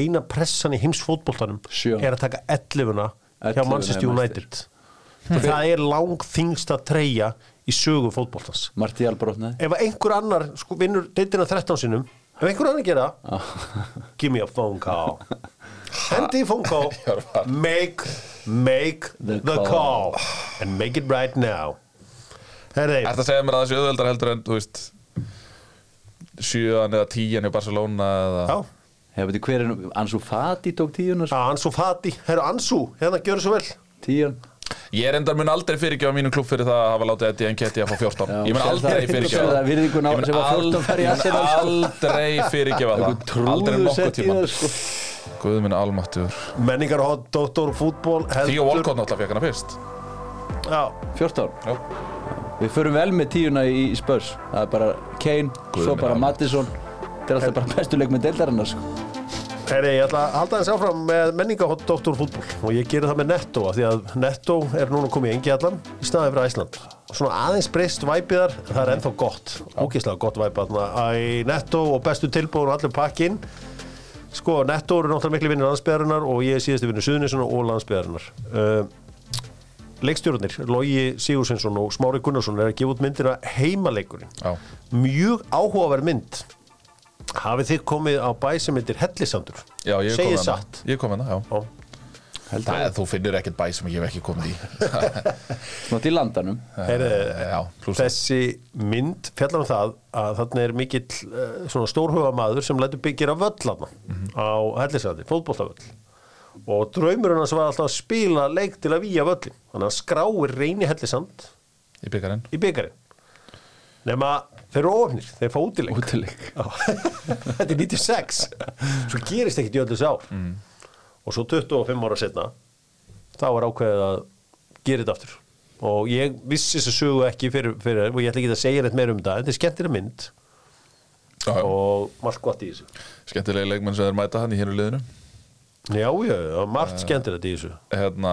S2: eina pressan í heimsfótboltanum
S4: Sjö.
S2: er að taka 11una hjá
S4: 11
S2: Manchester
S4: hjá
S2: United það er langþingsta treyja í sögu fótboltans
S4: Martial brotnaði
S2: ef að einhver annar sko, vinnur deildina 13 sinum ef einhver annar gera give me a phone call hendi í phone call make, make the,
S4: The
S2: call.
S4: call.
S2: and make it right now herri,
S3: Er það að segja mér að það sé auðveldar heldur en þú veist sjöðan eða tíjan í Barcelona eða
S2: já
S4: Hefur þetta hver er Ansu Fati tók tíun
S2: Já, Ansu Fati, herru Ansu, hérna gjörðu svo vel
S4: Tíun
S3: Ég er endar mun aldrei fyrirgefa mínum klubb fyrir það að hafa látið Eddie Nketi að fá 14
S4: Já,
S3: Ég mun
S4: sér
S3: aldrei
S4: það-
S3: fyrirgefa
S4: sér það virðingun á-
S3: Ég mun
S4: sem að 14
S3: ald-
S4: fær í
S3: Ég
S4: Arsenal,
S3: mun
S4: sko.
S3: aldrei fyrirgefa
S4: Einhver
S3: það Aldrei
S4: trúður
S3: nokkuð
S4: sett í
S3: tíma
S4: það sko
S3: Guð minn almáttur
S2: menningarhótt, doktor, fútból
S3: Tíu Walcott náttúrulega fekk hana fyrst
S2: já,
S4: 14
S3: Já.
S4: Við förum vel með tíuna í, í spörs Það er bara Kane,
S3: Guð
S4: svo
S3: minn
S4: bara
S3: almáttugur.
S4: Mattisson Þetta er alltaf bara bestu leikmenn deildarinnar sko.
S2: herri, ég ætla að halda þess áfram með menningarhótt, doktor, fútból og ég geri það með Netto, af því að Netto er núna komið í engi allan, í staðið fyrir Æsland svona aðeins breyst væpiðar en það er ennþá gott, ógeðslega gott væpa þarna í Netto og bestu tilbúin og allir pakkin sko, Netto eru náttúrulega miklu vinnir landsbyðarinnar og ég er síðasti vinnur Suðunisson og landsbyðarinnar uh, leikstjórnir, Logi Sigursinsson og Smári Gunnarsson er að gefa út myndina heimaleikurinn
S3: Já.
S2: mjög áhugaverð mynd hafið þið komið á bæ sem myndir hellisandur
S3: Já, ég kom
S2: segið
S3: hana.
S2: satt
S3: Ég kom hana, já
S2: Já.
S3: Það, þú finnur ekkert bæ sem ég hef ekki komið í
S4: Nátt í landanum
S2: Heyrðu,
S3: Já, pluss það.
S2: þessi mynd fjallar um það að þarna er mikill uh, svona stórhuga maður sem lætur byggjir af völlana
S3: Mhm.
S2: á hellisandi, fótbollavöll og draumurinn hans var alltaf að spila leik til að víja völlin þannig að hann skráir reyni hellisand
S3: Í byggarinn
S2: í byggarinn nema þeir eru ofnir, þeir fá útileik
S4: Útileik
S2: Já. þetta er 96 svo gerist ekkert í öllu sá mm. og svo 25 ára setna þá er ákveðið að gera þetta aftur og ég vissi þess að sögu ekki fyrir, fyrir og ég ætla ekki að segja neitt meira um það þetta er skemmtileg mynd og margt gott í þessu
S3: Skemmtilegi leikmenn sem þeir mæta hann í hinu liðinu
S2: já, já, já, margt skemmtilegt í þessu
S3: Hérna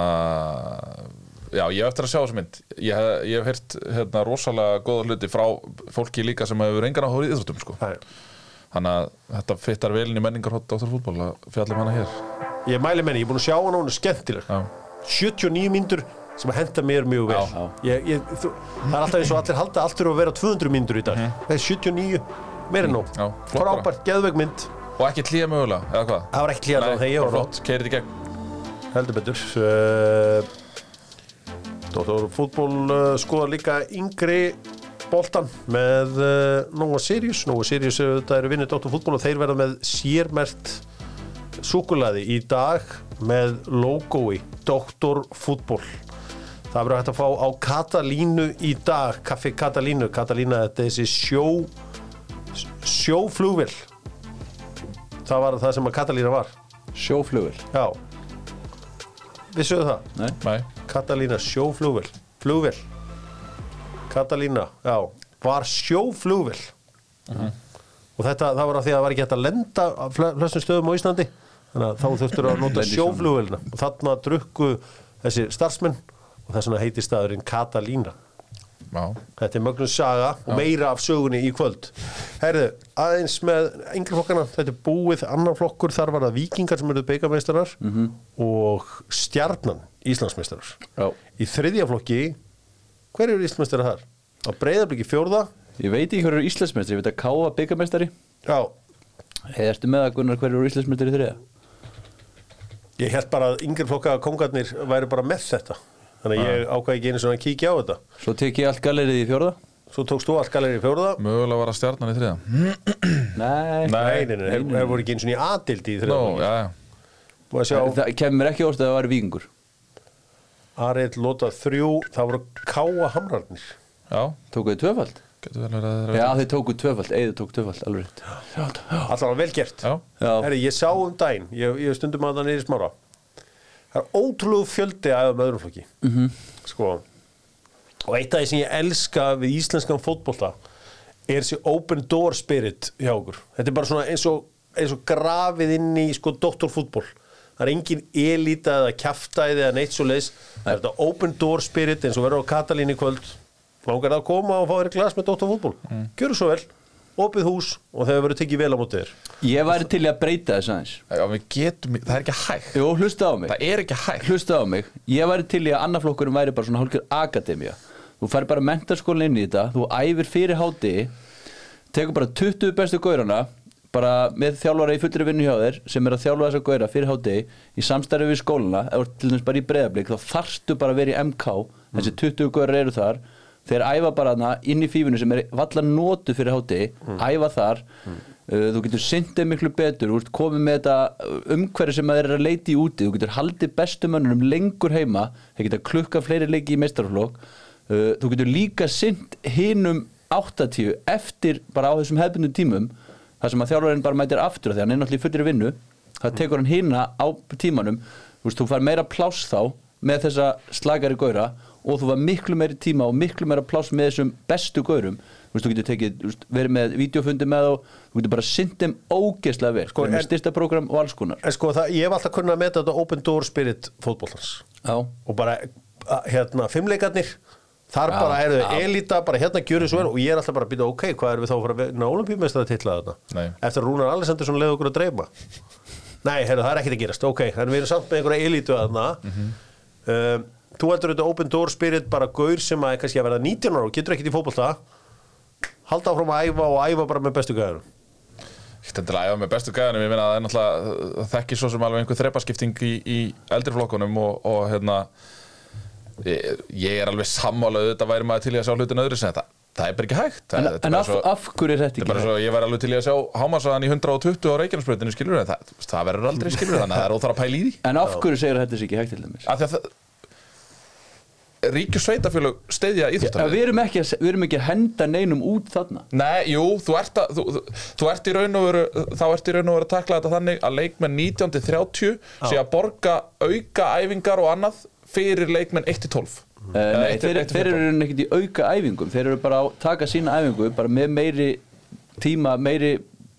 S3: Já, ég hef eftir að sjá þessu mynd Ég, hef- ég hef heyrt hérna, rosalega góða hluti frá fólki líka sem hefur engan áhuga í íþróttum sko.
S2: Hæ.
S3: Þannig að þetta fittar velin í menningarhótt Dóttar fútból að fjallum hana hér
S2: ég mæli menni, ég er búin að sjá hana hún er skemmtileg
S3: Já,
S2: 79 myndur sem að henda mér mjög vel
S3: Já.
S2: Ég, ég, þú, það er alltaf eins og allir halda alltaf að vera 200 myndur í dag það er 79, meira en nóg
S3: Mhm. Já, flott bara.
S2: frábært, geðveik mynd
S3: Og ekki tlýja mögulega, eða hvað?
S2: Það var ekki hlýjað á þegar ég var
S3: flott, keirið í gegn
S2: Heldur betur uh, Dóttar fútból uh, skoðar líka yngri eh, boltan með uh, Nóa Sirius Nóa Sirius, uh, það eru vinnir Dóttar fútból og þeir verða með sérmert súkulaði í dag með logoi Dr. Fútbol það verður hægt að fá á Katalínu í dag, kaffi Katalínu Katalína þetta er þessi sjó sjóflugvill það var það sem að Katalína var
S4: Sjóflugur
S2: já vissuðu það?
S4: Nei,
S3: Nei.
S2: Katalína sjóflugvill flugvill Katalína, já, var sjóflugvill og þetta, það var að því að það var ekki hægt að lenda á fle- flestum stöðum á Íslandi þannig að þá þurftur að nota
S4: Lenda í sjónum.
S2: sjóflugvillina og þarna drukku þessi starfsmenn og þess vegna heitir staðurinn Katalína
S3: Já.
S2: Þetta er mögnum saga og meira af sögunni í kvöld. Herðu, aðeins með yngri flokkana, þetta er búið annan flokkur, þar var það vikingar sem eru beigameistarar og stjarnan Íslandsmeistarar.
S4: Já.
S2: Í þriðja flokki, hver eru Íslandsmeistarar þar? Á breyðarblikki fjórða?
S4: ég veit ekki hverju Íslandsmeistri, ég veit að Káa byggamestari
S2: Já,
S4: Eða ertu með að Gunnar hverju Íslandsmeistri þriða?
S2: ég held bara að yngri flokka kongarnir væri bara með þetta. Þannig að ég ákvæði ekki einu svona að kíkja á þetta.
S4: Svo tek ég allt galerið í fjórða
S2: Svo tókst þú allt galeri í fjórða.
S3: Mögulega var að stjarnan í þriða
S4: Nei,
S2: Nei, nei, nei, nei. það voru ekki einu svona í aðdildi í
S3: Nó,
S2: þriðja flokki.
S3: já, já
S2: Búið að sjá-
S4: Það kemur mér ekki óst að það var vikingur
S2: Arill lota þrjú, það voru káa hamrarnir.
S3: Já,
S4: Tóku þið tvöfald?
S3: getur vel verið að það er-
S4: Já, þið tóku tvöfald, Eiður tók tvöfald, alveg rétt
S2: Alltaf vel gert.
S3: Já.
S4: Já.
S2: Herri, ég sá um daginn, ég, ég stundum að það neyri smára. Það er ótrúlegu fjöldi af um öðrum flokki. -hmm. Sko, og eitt af því sem ég elska við íslenskan fótbolta er þessi open door spirit hjá okkur. Þetta er bara svona eins og, eins og grafið inn í sko doktorfútból. Það er engin elita eða kjaftaði eða neitt svo leis. Það er þetta open door spirit eins og verður á Katalín í kvöld. Langar það að koma og fá þér glas með doktorfútból. Mm. Gjöru svo vel, opið hús og þegar verður tekið vel á mótið þér.
S4: Ég væri til í að breyta þess aðeins
S3: já við getum, það er ekki hægt
S4: Jó, hlusta á mig
S3: Það er ekki hægt
S4: Hlusta á mig Ég væri til í að annarflokkurinn væri bara svona hálfgjör akademía Þú fær bara mentarskólinn inn í þetta Þú æfir fyrir háti Tekur bara 20 bestu gaurana Bara með þjálfara í fullri vinnu hjá þér Sem er að þjálfa þessa gaura fyrir háti Í samstarfi við skólana Ef þú ert til þess bara í breðablík Þá þarftu bara að vera í MK Þessi 20 gaurar eru þar Þeir æfa bara hana inn í fífinu sem er valla notu fyrir háti Æfa þar Uh, þú getur syndið miklu betur þú ert komið með þetta umhverju sem maður er að leita í úti þú getur haldið bestu mönnunum lengur heima þeir geta klukka fleiri leiki í meistarflokk uh, þú getur líka synd hinum 80 eftir bara á þessum hefbundum tímum þar sem að þjálfarinn bara mætir aftur þegar hann er náttúrulega í fullir vinnu
S3: Mm.
S4: það tekur hann hina á tímanum þú veist, þú fær meira pláss þá með þessa slagari góra og þú var miklu meiri tíma og miklu meira pláss með þessum bestu gaurum þú veist, þú getur tekið, þú veist, verið með videofundi með þá, þú getur bara sint þeim ógeðslega vel,
S2: Sko,
S4: sko, með
S2: en-
S4: styrsta prógram og alls konar
S2: En sko, það, ég hef alltaf kunnað að meta þetta open door spirit fótbollans
S4: já,
S2: og bara, að, hérna, fimmleikarnir þar
S4: Já,
S2: bara eru
S4: já.
S2: elita bara hérna gjöru svo er og ég er alltaf bara að býta ok, hvað erum við þá að fara að vinna olimpíumestara titla þarna
S3: Nei.
S2: eftir að Rúnar Alessandursson leiði okkur að dreima Nei, hérna, það er ekkert að gerast, ok en við erum samt með einhverja elitu þarna
S4: Mhm.
S2: um, Þú heldur þetta open door spirit bara gaur sem að er kannski að verða 19 ára og getur ekkert í fótbolta halda áfram að æfa og æfa bara með bestu gæðurum
S3: Þetta er að æfa með bestu gæðanum, ég meina að það er náttúrulega það þekkir svo sem alveg einhver þrepaskipting í, í eldri flokkunum og, og hérna ég, ég er alveg sammálaðu þetta væri maður til í að sjá hlutin öðru sem þetta það er bara ekki hægt
S4: en,
S3: það, þetta er
S4: en
S3: bara
S4: af,
S3: svo,
S4: af hverju er þetta
S3: þetta er
S4: ekki
S3: bara svo, ég væri alveg til í að sjá hámasaðan í 120 á Reykjanesbröðinu skilur en það, það verður aldrei skilur þannig að það er óþar að pæla í því
S4: en af hverju segir þetta sér ekki hægt til dæmis
S3: af því að það ríkjur sveitafélög steyðja
S4: ja,
S3: íþjóttar
S4: við, erum ekki að, við erum ekki að henda neinum út þarna
S3: Nei, jú, þú ert, að, þú, þú, þú ert í raun og veru, þá ert í raun og veru að takla þetta þannig að leikmenn 19-30 sé að borga auka æfingar og annað fyrir leikmenn 1-12
S4: Eh, Nei, þeir, þeir eru ekkert í auka æfingum þeir eru bara að taka sína æfingu bara með meiri tíma meiri,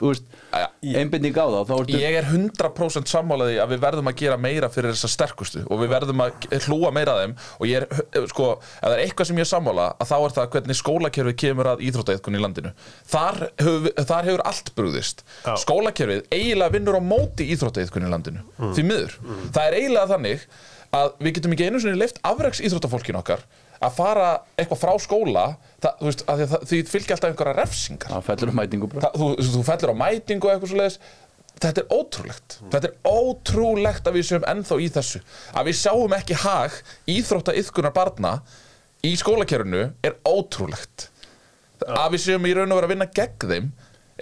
S4: þú veist,
S3: Jæja.
S4: einbinding á þá þá ertu
S3: Ég er 100% sammálaði að við verðum að gera meira fyrir þessa sterkustu og við verðum að hlúa meira að þeim og ég er, sko, ef það er eitthvað sem ég er sammála að þá er það hvernig skólakerfið kemur að íþróttaeitkun í landinu. Þar hefur, þar hefur allt brúðist.
S2: Já.
S3: Skólakerfið eiginlega vinnur á móti íþróttaeitkun í landinu, því miður. Það er eiginlega þannig að við getum ekki einu sinni leift afreks íþróttafólkin okkar að fara eitthvað frá skóla það, þú veist, að því, að það, því fylgja alltaf einhverja refsingar
S4: það fellur um mætingu bara
S3: það, þú, þú- þú fellur á mætingu og eitthvað svo þetta er ótrúlegt þetta er ótrúlegt að við séum ennþá í þessu að við sjáum ekki hag íþrótta yfkunar barna í skólakerfinu er ótrúlegt að við séum í raun og vera að vinna gegn þeim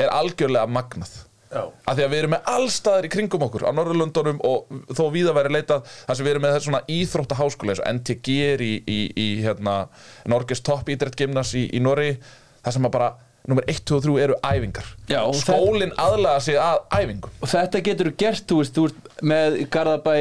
S3: er algjörlega magnað af því að við erum með allstaðar í kringum okkur á Norðurlundunum og þó víða væri leitað þar sem við erum með svona íþrótta háskóla eins og NTG er í, í, í hérna, Norges topp ídrettgymnas í, í Norri þar sem að bara nummer 1, 2 og 3 eru æfingar
S4: Já, og það-
S3: skólinn aðlaga sig að æfingum
S4: og þetta getur þú gert, þú veist, þú ert með Garðabæ,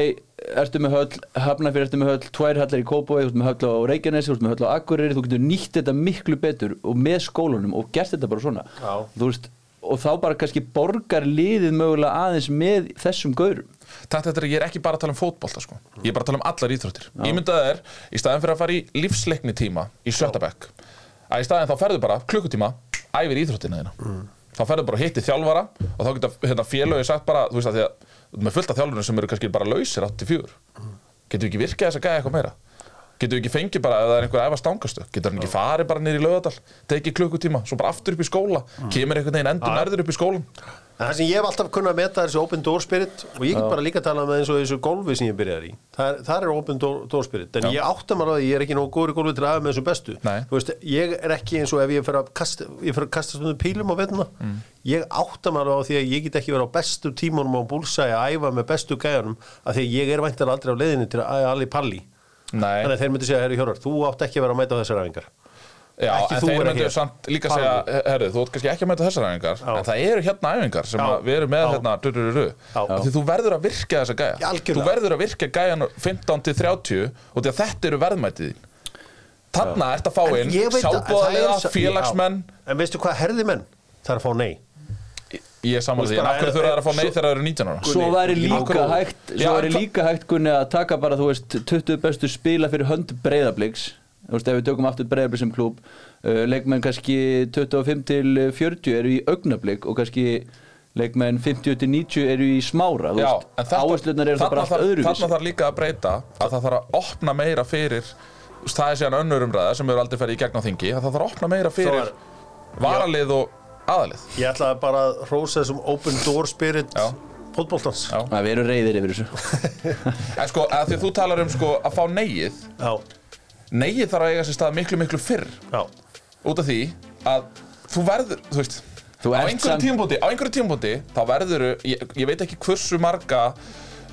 S4: ertu með höll Hafnafjör ertu með höll, tvær hallar í Kópói þú ert með höll á Reykjanesi, þú ert með höll á Akureyri þú getur nýtt þetta miklu betur og með skólunum og gert þetta bara svona
S2: Já.
S4: þú veist, og þá bara kannski borgar liðið mögulega aðeins með þessum gaurum
S3: Takt þetta er að ég er ekki bara að tala um fótbolta sko. Ég er bara að tala um allar íþróttir Ég mynda þær, í staðin fyrir að fara í lífsleikni tíma í Sjötabæk að í staðin þá ferðu bara klukkutíma æfir íþróttina þína
S2: Mm.
S3: þá ferðu bara að hitti þjálfara og þá geta hérna, félögi sagt bara þú veist að því að þú ert með fullt af þjálfurinn sem eru kannski bara lausir 84 getur við ekki virkað þess að gæja eitthvað meira getur við ekki fengið bara ef það er einhver að æfa stangastu getur hann ekki farið bara niður í laugadal tekið klukkutíma, svo bara aftur upp í skóla
S2: Mm.
S3: kemur einhvern veginn endur nærður upp í skólan
S2: En það sem ég hef alltaf kunnað að meta er þessi open door spirit og ég get bara líka að tala með eins og þessu golfi sem ég byrjaði í. Það er, það er open door, door spirit en
S3: Já.
S2: ég átta maður að því, ég er ekki nógu góður í golfi til að aðeins með þessum bestu.
S3: Nei.
S2: Þú veist, ég er ekki eins og ef ég fer að kasta, ég fer að kasta stundum pílum á vettuna.
S3: Mm.
S2: Ég átta maður á því að ég get ekki verið á bestu tímunum á búlsæ að æfa með bestu gæjanum af því að ég er væntar aldrei á leiðinni til að æfa allir palli.
S3: Nei.
S2: Þannig að þeir myndi segja, herri Hjórar, þú átt ekki að vera að mæta á þessar æfingar.
S3: Já,
S2: Ekki
S3: en
S2: þú
S3: þeir
S2: vera
S3: myndu
S2: hér.
S3: samt líka
S2: Farðu.
S3: segja, herru, þú ert kannski ekki að mæta þessar æfingar
S2: Já.
S3: En það eru hérna æfingar sem
S2: Já.
S3: að við erum með
S2: Já.
S3: hérna durururu
S2: Já.
S3: Því þú verður að virka þessa gæja
S2: Já, algjörlega.
S3: Þú verður að virka gæjan 15 til 30 Og því að þetta eru verðmætið þín Þarna ert að fá
S2: En
S3: inn
S2: ég veit að- það
S3: sjálfbóðaliða,
S2: er-
S3: félagsmenn
S2: Já. En veistu hvað herði menn? Það er að fá nei.
S3: Ég er
S2: Þú
S3: saman því,
S2: veist
S3: en
S2: bara,
S3: af hverju
S2: er-
S3: þurfa þær að fá
S2: er-
S3: nei
S2: svo-
S3: þegar það eru 19 ára
S4: Svo væri líka
S3: Akkur-
S4: hægt
S3: Já,
S4: Svo væri
S3: en það-
S4: líka hægt kunni að taka bara þú veist 20 bestu spila fyrir hönd breyðabliks Þú veist ef við tökum aftur breyðabliks sem klúb uh, Leikmenn kannski 25 til 40 eru í augnablik og kannski leikmenn 50 til 90 eru í smára þú
S3: Já,
S4: veist.
S3: en þetta-
S4: Áherslunar eru það
S3: þarna
S4: bara allt
S3: þarf-
S4: öðruvísi
S3: Þarna þarf líka að breyta að það þarf að opna meira fyrir þú veist, það er síðan önnur umræða sem hefur aldrei ferið í gegn á þingi að það þarf að opna meira fyrir
S2: er-
S3: varalið og aðalið
S2: Ég ætlaði bara að rósa þessum open door spirit
S3: Já.
S2: fótboltans.
S3: Já.
S4: Það eru reyðir yfir þessu
S3: en sko, að því að þú talar um sko að fá neyið
S2: Já,
S3: neyið þarf að eiga sér stað miklu miklu fyrr
S2: já.
S3: út af því að þú verður, þú veist
S4: Þú
S3: á
S4: ert
S3: einhverjum
S4: samt-
S3: tímpúti, á einhverjum tímpúti þá verður, ég, ég veit ekki hversu marga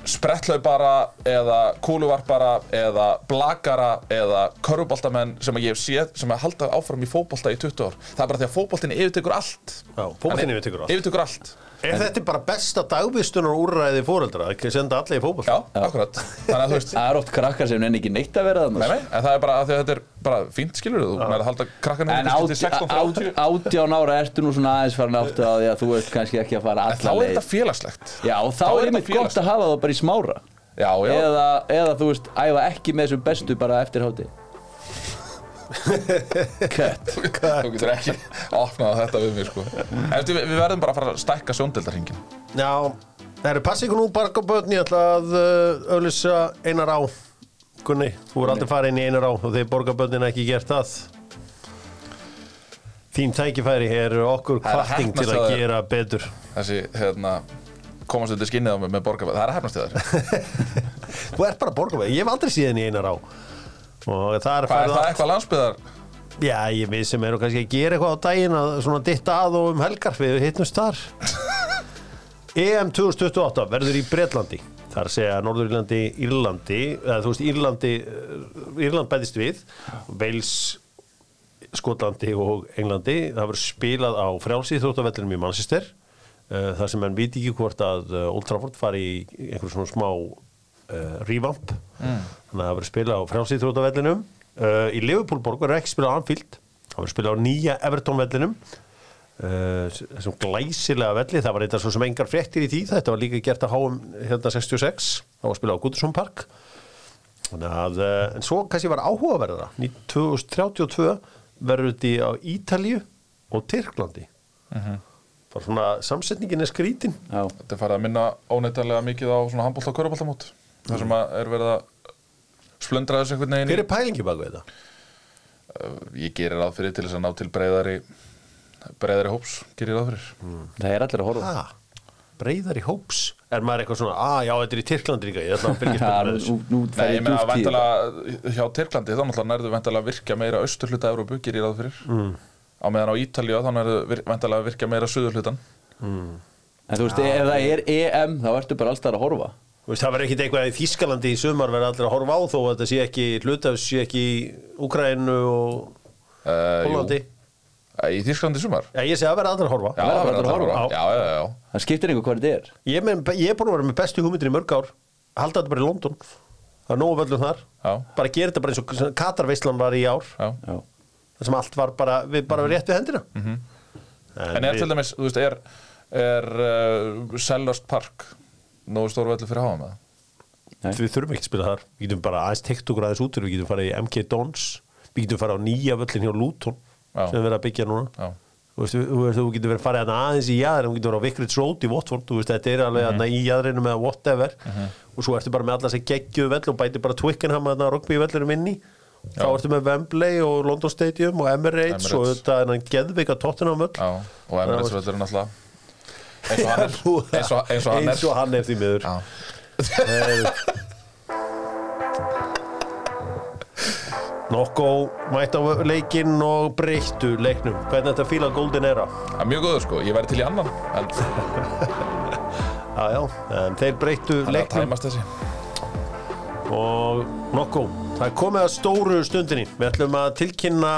S3: sprettlaupara eða kúluvarpara eða blakara eða köruboltamenn sem að ég hef séð sem að halda áfram í fótbolta í 20 ár það er bara því að fótboltin yfirtekur allt
S2: Já, fótboltinn
S3: Hann er-
S2: yfirtekur allt.
S3: yfirtekur allt
S2: Er þetta bara besta dagvistunar úrræði fóreldra? Það er senda allir í fótbolt.
S3: Já, akkurat Þannig að þú veist
S4: Það er oft krakkar sem nenni ekki neitt að vera
S3: Nei,
S4: þannig
S3: nei, en það er bara að því að þetta er bara fínt skilur þú, þú er að halda krakkan
S4: En át- átján ára ertu nú svona aðeins farin átt að því að þú ert kannski ekki að fara
S3: Þá
S4: alla
S3: er
S4: leið
S3: þetta félagslegt
S4: Já, og
S3: Þá
S4: þá
S3: er
S4: er
S3: þetta
S4: einmitt gott
S3: félagslegt.
S4: að hafa það bara í smára
S3: Já, já,
S4: eða, eða þú veist, æfa ekki með þessum bestu bara eftir háti Kött
S3: þú getur ekki opnað þetta við mig sko Eftir, við, við verðum bara að fara að stækka sjóndeldarhingin
S2: Já. Það eru, passi ykkur nú barga börn, ég ætla að uh, auðlýsa einar á. Gunni, þú voru aldrei farin í einar á og þeir borga börnin ekki gert það. Þín tækifæri er okkur
S3: Það er að
S2: kvarting til
S3: heppnast
S2: að
S3: að-
S2: gera betur.
S3: Þessi, hérna, komast undir skinnið á mig með borgarbæð Það er að hefnast þér
S2: Þú ert bara borga börn, ég hef aldrei síðan í einar á. Og það er
S3: Hvað
S2: farið
S3: er það eitthvað landsbyðar?
S2: Já, ég við sem eru kannski að gera eitthvað á daginn að svona ditta að og um helgar við hittumst þar E EM 2028 verður í Bretlandi þar segja Norðurlandi Írlandi, eða þú veist Írlandi eh, Írland bæðist við Wales, Skotlandi og Englandi, það verður spilað á frjálsíþróttavellinum í Manchester eh, þar sem menn viti ekki hvort að eh, Old Trafford fari í einhver svona smá uh, revamp þannig að það verður spilað á frjálsíþróttavellinum uh, í Liverpool borg verður ekki spilað á Anfield það verður spilað á nýja Everton vellinum uh, þessum glæsilega velli það var eitthvað svo sem engar fréttir í því þetta var líka gert að háum hérna 66 það var spilað á Goodison Park þannig að, uh, en svo kannski var áhugaverðara 2032 verður þetta í- á Ítalíu og Tyrklandi bara svona samsetningin er skrítin
S4: Já,
S3: Þetta er farið að minna óneittalega mikið á svona handbólt og köruboltamót Það sem að er verið að splundra þessu einhvern veginn í-
S2: hver er pælingi bak við þetta?
S3: Ég gerir ráð fyrir til þess að ná til breyðari breyðari hóps, gerir ráð fyrir
S4: það er allir að horfa
S2: Ah, breyðar í hóps er maður eitthvað svona, að já, þetta er í Tyrklandi líka ég ætla að byrja spilum
S4: Það er
S2: með
S4: nú,
S2: þessu
S4: nú
S3: Nei,
S4: fer
S3: ég
S4: ég
S3: meina
S4: djúpt í þetta.
S3: væntalega hjá Tyrklandi þá náttúrulega nærðu væntalega að virkja meira austurhluta Európu, gerir ég ráð fyrir mm. á meðan á Ítalíu þá nærðu vir- væntalega að virkja meira suðurhlutan
S4: En þú veist, ef það er EM þá ertu bara alltaf að horfa
S2: Þú veist, það verður ekkit eitthvað að í Þískalandi í sumar verður allir að horfa á þó að þetta sé ekki hluta af þessu sé ekki í Úkraínu og
S3: Eh, jú.
S2: Pólandi
S3: Eh, Í Þýrsklandi í sumar?
S2: Já, ég segi að verða allir að horfa
S3: Já,
S4: verða
S3: það
S4: bara
S3: verður
S4: að
S3: að
S2: horfa.
S3: horfa. Já, já, já, já.
S4: Það skiptir einhver hvað þetta er
S2: ég, er með- ég er búin að vera með bestu hugmyndir í mörg ár Halda þetta bara í London Það er nógu völlum þar
S3: Já.
S2: Bara gera þetta bara eins og Katarveislan var í ár
S3: já. Mhm.
S4: Já,
S2: Það sem allt var bara, við bara rétt við hendina
S3: En er til dæmis, þú veist, er, er uh, Sellast Park nógu stór vellu fyrir háa með það?
S4: Nei.
S2: Við þurfum ekki að spila þar Við getum bara aðeins tekt okkur aðeins út Við getum farið í MK Dons Við getum farið á nýja völlin hjá Luton
S3: Já.
S2: sem við erum að byggja núna
S3: Já.
S2: Þú veist, Þú veist, þú getur verið að fara hérna aðeins í jaðrin Þú getur verið á Vikrits Road í Watford Þú veist, Þetta er alveg hérna í jaðrinu með whatever
S3: Mhm.
S2: og svo ertu bara með alla þessi geggju völl og bæti bara Twickenham að rugby vellinum inn í þá ertu með Wembley og London Stadium og Emirates,
S3: Emirates.
S2: og þetta er hann geðvika Tottenham völl
S3: Já, og Emirates
S2: Já,
S3: völlurinn alltaf eins og hann er eins og, eins og hann
S2: eins og
S3: er
S2: hann er því miður
S3: Já.
S2: Heyrðu. Nokko mætt á leikinn og breyttu leiknum hvernig þetta fíla Golden Era
S3: Það er mjög góður sko, ég væri til í annan en það
S2: já, já, en þeir breyttu
S3: er að
S2: leiknum
S3: tæmast þessi
S2: og Nokko, það er komið að stóru stundinni við ætlum að tilkynna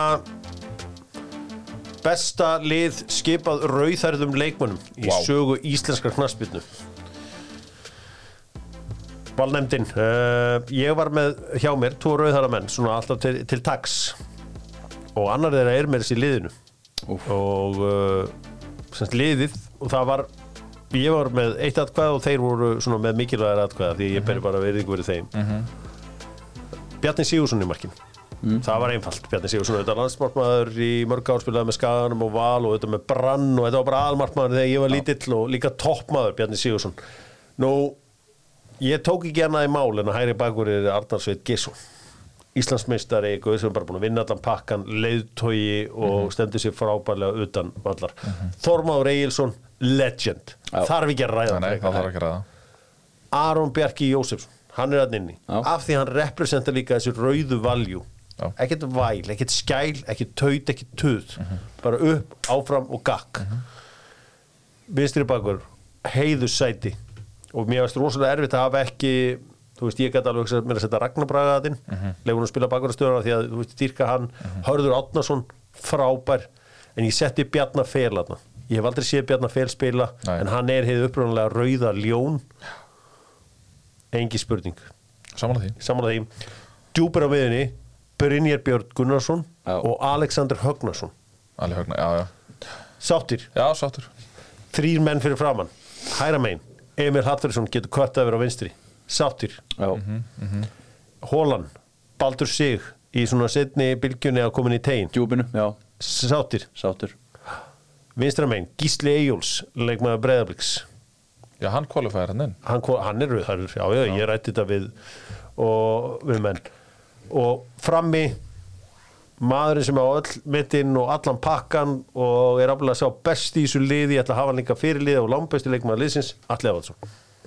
S2: besta lið skipað rauðærðum leikmönnum í
S3: Vá.
S2: sögu íslenskar knarsbyrnu Valnefndin, uh, ég var með hjá mér tvo rauðhæra menn, svona alltaf til, til tax og annar þeirra er með þessi liðinu Úf. og uh, semst liðið og það var ég var með eitt atkvæð og þeir voru svona með mikilvægir atkvæða því ég beri bara verið ykkur þeim Bjarni Sigursson í markinu
S3: Mm.
S2: Það var einfalt, Bjarni Sigursson, auðvitað landsmarkmaður í mörg áspilaði með skaganum og val og auðvitað með brann og þetta var bara aðalmarkmaður þegar ég var lítill og líka toppmaður Bjarni Sigursson. Nú, ég tók ekki annað í mál en að hægri bakur er Arnar Sveit Gisson. Íslandsmeistari, guð sem er bara búin að vinna allan pakkan, leiðtogi og
S3: Mhm.
S2: stendur sér frábærlega utan vallar. Þormáður Egilson, legend.
S4: Já.
S2: Þarf ekki að ræða
S3: Nei, það þarf ekki að ræða
S2: Aron Bjarki Jósefsson hann er hann inni,
S4: Já.
S2: af því hann representar líka þessi rauðu valjú
S3: Já.
S2: ekkert væl, ekkert skæl, ekkert taut ekkert tuð, bara upp áfram og gakk vinstri bakur, heiðu sæti og mér varst rosalega erfitt að hafa ekki þú veist, ég gæti alveg hugsað mér að setja Ragnar Braga þinn, mm -hmm. leifur hún að spila bakurastöðuna því að, þú veist, dýrka hann, Hörður Átnason frábær, en ég setti Bjarna Fel aðna, ég hef aldrei séð Bjarna Fel spila,
S3: Nei.
S2: en hann er heið upprunlega rauða ljón engi spurning
S3: Samanlega því
S2: saman að því djúpir á miðunni Brynjar Björn Gunnarsson
S4: Já.
S2: og Alexander Högnarsson
S3: Alveg högna, já, já
S2: sáttir,
S3: Já, sáttur
S2: þrýr menn fyrir framann hæra megin, Emil Hallfjörðsson getur kvart að vera á vinstri, sáttir
S4: já,
S3: Mhm.
S2: Hólan, Baldur Sig í svona setni bylgjunni að komin í tegin
S4: djúpinu, já,
S2: sáttir,
S4: sátur
S2: vinstra megin Gísli Eyjóls, leikmaður Breiðabliks
S3: Já, hann kvalifæðir hann inn
S2: hann, ko- hann er rauðhærður, já, já, ég rætti þetta við og við menn og frammi maðurinn sem á öll mittinn og allan pakkan og er aflega sá besti í þessu liði, ég ætla að hafa hann líka fyrirlið og langbesti leikmaður liðsins, Atli Efansson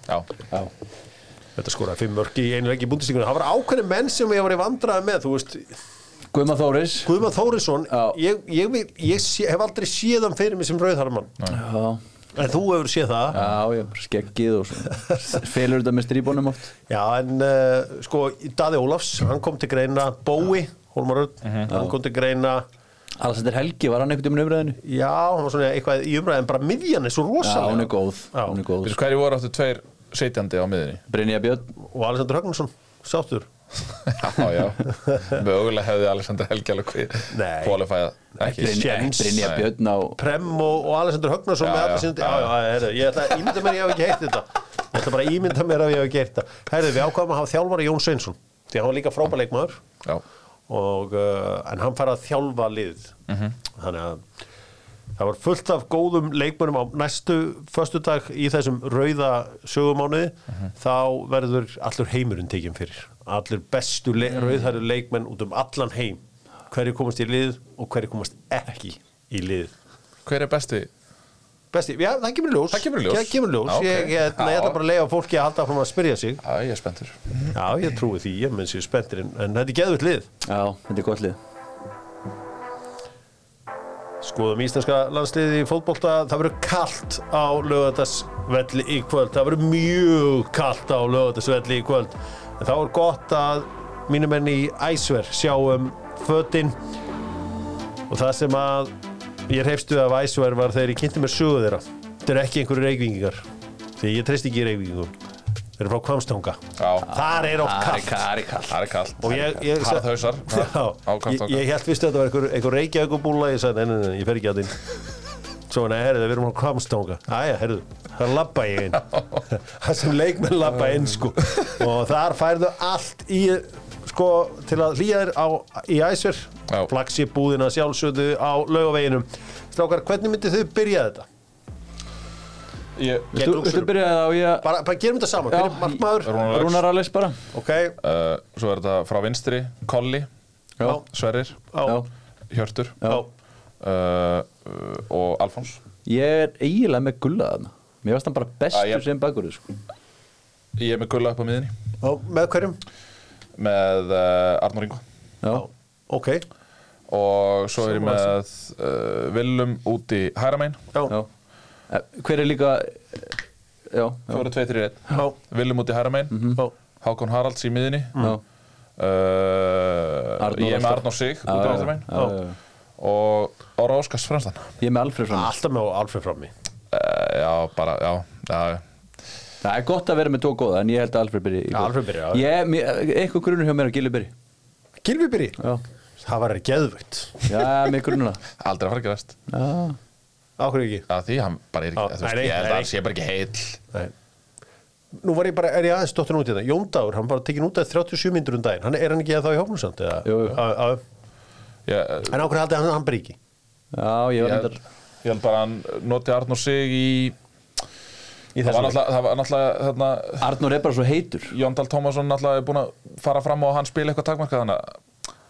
S3: Já,
S4: Já,
S2: þetta skoraði fimm mörk í einu leik í búndistingunni það var ákveðin menn sem ég var í vandraði með þú veist,
S4: Guðma Þóris
S2: Guðmann Þórisson
S4: Já.
S2: ég, ég, vil- ég sé, hef aldrei séð hann fyrir mig sem rauðharmann,
S4: Já,
S2: en þú hefur séð það
S4: já, já, skeggið og svona Felur þetta með stríbónum oft
S2: Já, en uh, sko, Daði Ólafs, hann kom til greina, Bói, Hólmar Örn, hann kom til greina,
S4: Alessandir Helgi, var hann einhvern veginn umræðinu?
S2: já, hann var svona eitthvað í umræðin, bara miðjan er svo
S4: Já,
S2: rosalega.
S4: hún er góð,
S2: Já.
S4: hún er góð
S3: veistu hverju voru áttu tveir setjandi á miðinni?
S4: Brynja Björn,
S2: Og Alexander Högnarsson, sáttur.
S3: Já, já Mögulega hefði Alexander Helgi alveg
S2: Nei.
S3: kvalifæðið Ekki
S2: Brynja- Séns.
S4: Brynja Björn á
S2: Prem og, og Alexander Högnarsson
S3: Já,
S2: með
S3: já,
S2: alla síndi, já,
S3: já,
S2: já, herru, ég ætla að ímynda mér að ég hef ekki heitt þetta. Ég ætla bara að ímynda mér að ég hef ekki heitt þetta. Herðu, við ákvaðum að hafa þjálfari Jón Sveinsson, því að hann var líka frábæleikmaður,
S3: Já,
S2: og, uh, en hann fara að þjálfa liðið.
S3: Mhm.
S2: Þannig að Það var fullt af góðum leikmönnum á næstu föstudag í þessum rauða sögumánuði
S3: Mhm.
S2: þá verður allur heimurinn tekinn fyrir allir bestu le
S3: Mm.
S2: rauðhæru leikmenn út um allan heim hverju komast í lið og hverju komast ekki í lið
S3: hver er besti?
S2: Besti, já, það kemur í ljós
S3: Það kemur í ljós.
S2: Það kemur í ljós.
S3: Já, ok.
S2: Ég, ég, ætla- ég ætla
S3: Já.
S2: bara að leiða fólki að halda fram að spyrja sig
S3: Já, ég er spenntur
S2: Já, ég trúi því, ég menn sér spenntir en, en þetta er geðvitt lið
S4: Já, þetta er gott lið
S2: Skoðum íslenska landsliði í fótbolta, það verður kallt á lögatarsvelli í kvöld, það verður mjög kallt á lögatarsvelli í kvöld. En þá er gott að mínum enn í æsver sjáum fötin og það sem að ég reyfstu af æsver var þegar ég kynnti mér sögu þeirra. Þetta eru ekki einhverju reykingingar, því ég treysti ekki reykingum. Þeir eru frá Kvamstanga.
S3: Já,
S2: Þar er oft kallt.
S4: Það er kallt
S3: það er kallt
S2: Og ég, ég,
S3: Harðhausar
S2: Já, ég,
S3: Ákvæmt
S2: ég held vist að þetta var einhver, einhver reykja einhver búla, ég sagði, nei, nei, nei, ég fer ekki að þín Svo, nei, herðu, við erum á kvamstanga Æja, herðu, það labba ég inn Það sem leikmenn labba inn, sko Og þar færðu allt í, sko, til að hlýja þér á, í æsver
S3: Já.
S2: Flagsip búðina sjálfsöðu á laugaveginum Strákar, hvernig myndið þau byrja þetta?
S3: ég,
S2: Get
S4: Þú
S2: buxur.
S4: þú byrjaði á ég
S2: Bara, bara gerum þetta saman,
S4: Já,
S2: hver er markmaður?
S3: Rúnar Alex.
S4: Rúnar Alex bara
S2: Ok,
S3: uh, Svo er þetta frá vinstri Kolli,
S2: já,
S3: Sverrir
S2: já,
S4: Já,
S3: Hjörtur
S4: já.
S2: já
S3: uh, og Alfons
S4: Ég er eiginlega með gulla þarna Mér varst hann bara bestur
S3: Já, ég-
S4: sem bakur sko.
S3: Ég er með Gulla upp á miðinni
S2: Já, með hverjum?
S3: með uh, Arnur Ingo
S4: Já,
S2: Ok,
S3: og svo er ég með uh, Willum út í Hæramein
S2: já,
S4: já Eh, Hver er líka eh, Já, já,
S3: Fjóru, tveið, þrjir,
S2: já, Mhm.
S3: einn Willum út í Hæramein
S2: já.
S3: Hákon Haralds í miðinni
S4: já.
S3: uh,
S4: Arnór
S3: Ég er með
S4: alltaf.
S3: Arnur Sig út
S4: Já,
S3: í
S4: já,
S3: Hæramein
S4: já, já, já.
S3: og Ára Óskars fremstan uh,
S4: Ég er með Alfred fram
S2: Alltaf með Alfred frammi
S3: Já, bara, já, já
S4: Það er gott að vera með tvo góða En ég held að Alfred byrji í
S2: Já,
S4: kvöld.
S2: Alfred byrji, já.
S4: Ég, mér- Eitthvað grunur hjá mér að Gilvi byrji
S2: Gilvi byrji
S4: Já,
S2: Það var geðvögt
S4: já, mér grunur það
S3: Aldrei að fara að gerast
S4: Já,
S2: Áhverju ekki
S3: að Því hann bara er
S2: Já,
S3: ekki,
S2: nei,
S3: þú veist,
S2: nei,
S3: ég held
S2: nei,
S3: að
S2: nei.
S3: hann sé bara ekki heill
S2: Nei. Nú var ég bara, er ég aðeins dottin út í þetta Jón Dagur, hann bara tekin út að 37 myndur um daginn hann, Er hann ekki að þá í hófnum samt? eða?
S4: Jú, jú.
S2: Á- á-
S3: Ég,
S2: En áhverju haldið hann, hann byrji ekki
S4: já ég var
S3: ég,
S4: reyndar
S3: ég held bara að hann noti Arnur Sig í
S2: Í
S3: það var
S2: þessum leik.
S3: náttúrulega, það var náttúrulega hérna, þarna,
S4: Arnur er bara svo heitur
S3: Jóndal Tómasson náttúrulega er búin að fara fram og hann spila eitthvað takmarkað þannig að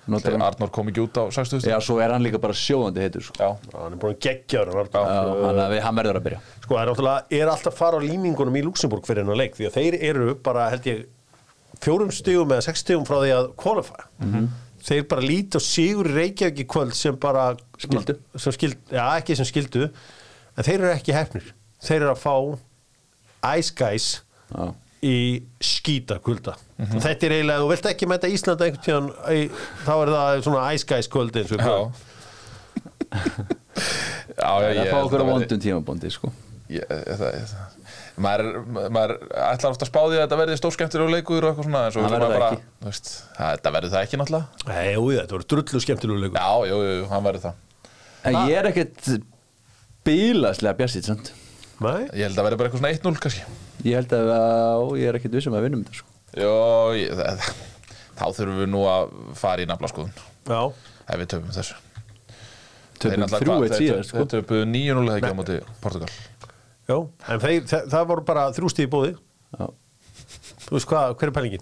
S4: Náttúrulega.
S3: Arnur kom ekki út á 60
S4: Já, svo er hann líka bara sjóðandi heitur sko.
S3: Já,
S2: Já, Hann er búin að geggja hann
S4: Já, hann, við, hann verður að byrja
S2: Sko, það er náttúrulega, er alltaf að fara á límingunum í Luxemburg fyrir hennar leik, því að þeir eru bara, held ég, fjórum stigum eða sex stigum frá því að qualify þeir bara líti og sigur í Reykjavík í kvöld sem bara
S4: Skyldu.
S2: sem skild, já, ekki sem skildu en þeir eru ekki hefnir, þeir eru að fá Ice Guys
S4: Já.
S2: í skýta kulda þetta er eiginlega, þú vilt ekki mæta Íslanda einhvern tíðan, í, þá er það svona Ice Guys kvöldi eins og í
S3: já
S2: kvöld.
S3: Já, já,
S4: Það
S3: ég
S4: fá
S3: held
S4: okkur á
S3: að verði-
S4: vondum tímabondi sko.
S3: ég- ég- það- ég- Maður maður ætlar ofta að spá því að þetta verði stórskemmtilegur leikur og eitthvað svona en svo
S4: Það
S3: vill
S4: verður
S3: maður
S4: það
S3: bara- þú veist, það- Þetta verður það ekki náttúrulega
S2: Nei, jú, þetta voru drullu skemmtilugu
S3: Já, jú, jú, jú, hann verður það
S4: En ég er ekkert bílaslega bjassið samt.
S2: Nei,
S3: Ég held að verði bara eitthvað svona 1-0 kannski
S4: Ég held að á, ég er ekkert vissum að vinna um þetta sko.
S3: Jó, ég, það, þá þurfum við nú að fara í nafla skoðun
S2: já
S3: ef við töfum þessu
S4: Töpum þrjú eitt síðan sko.
S3: Þeir töfum 9-0 eða ekki á móti Portugal
S2: Já, en þeir, það, það voru bara þrjústi í bóði
S4: Já.
S2: Þú veist hvað, hver er pælingin?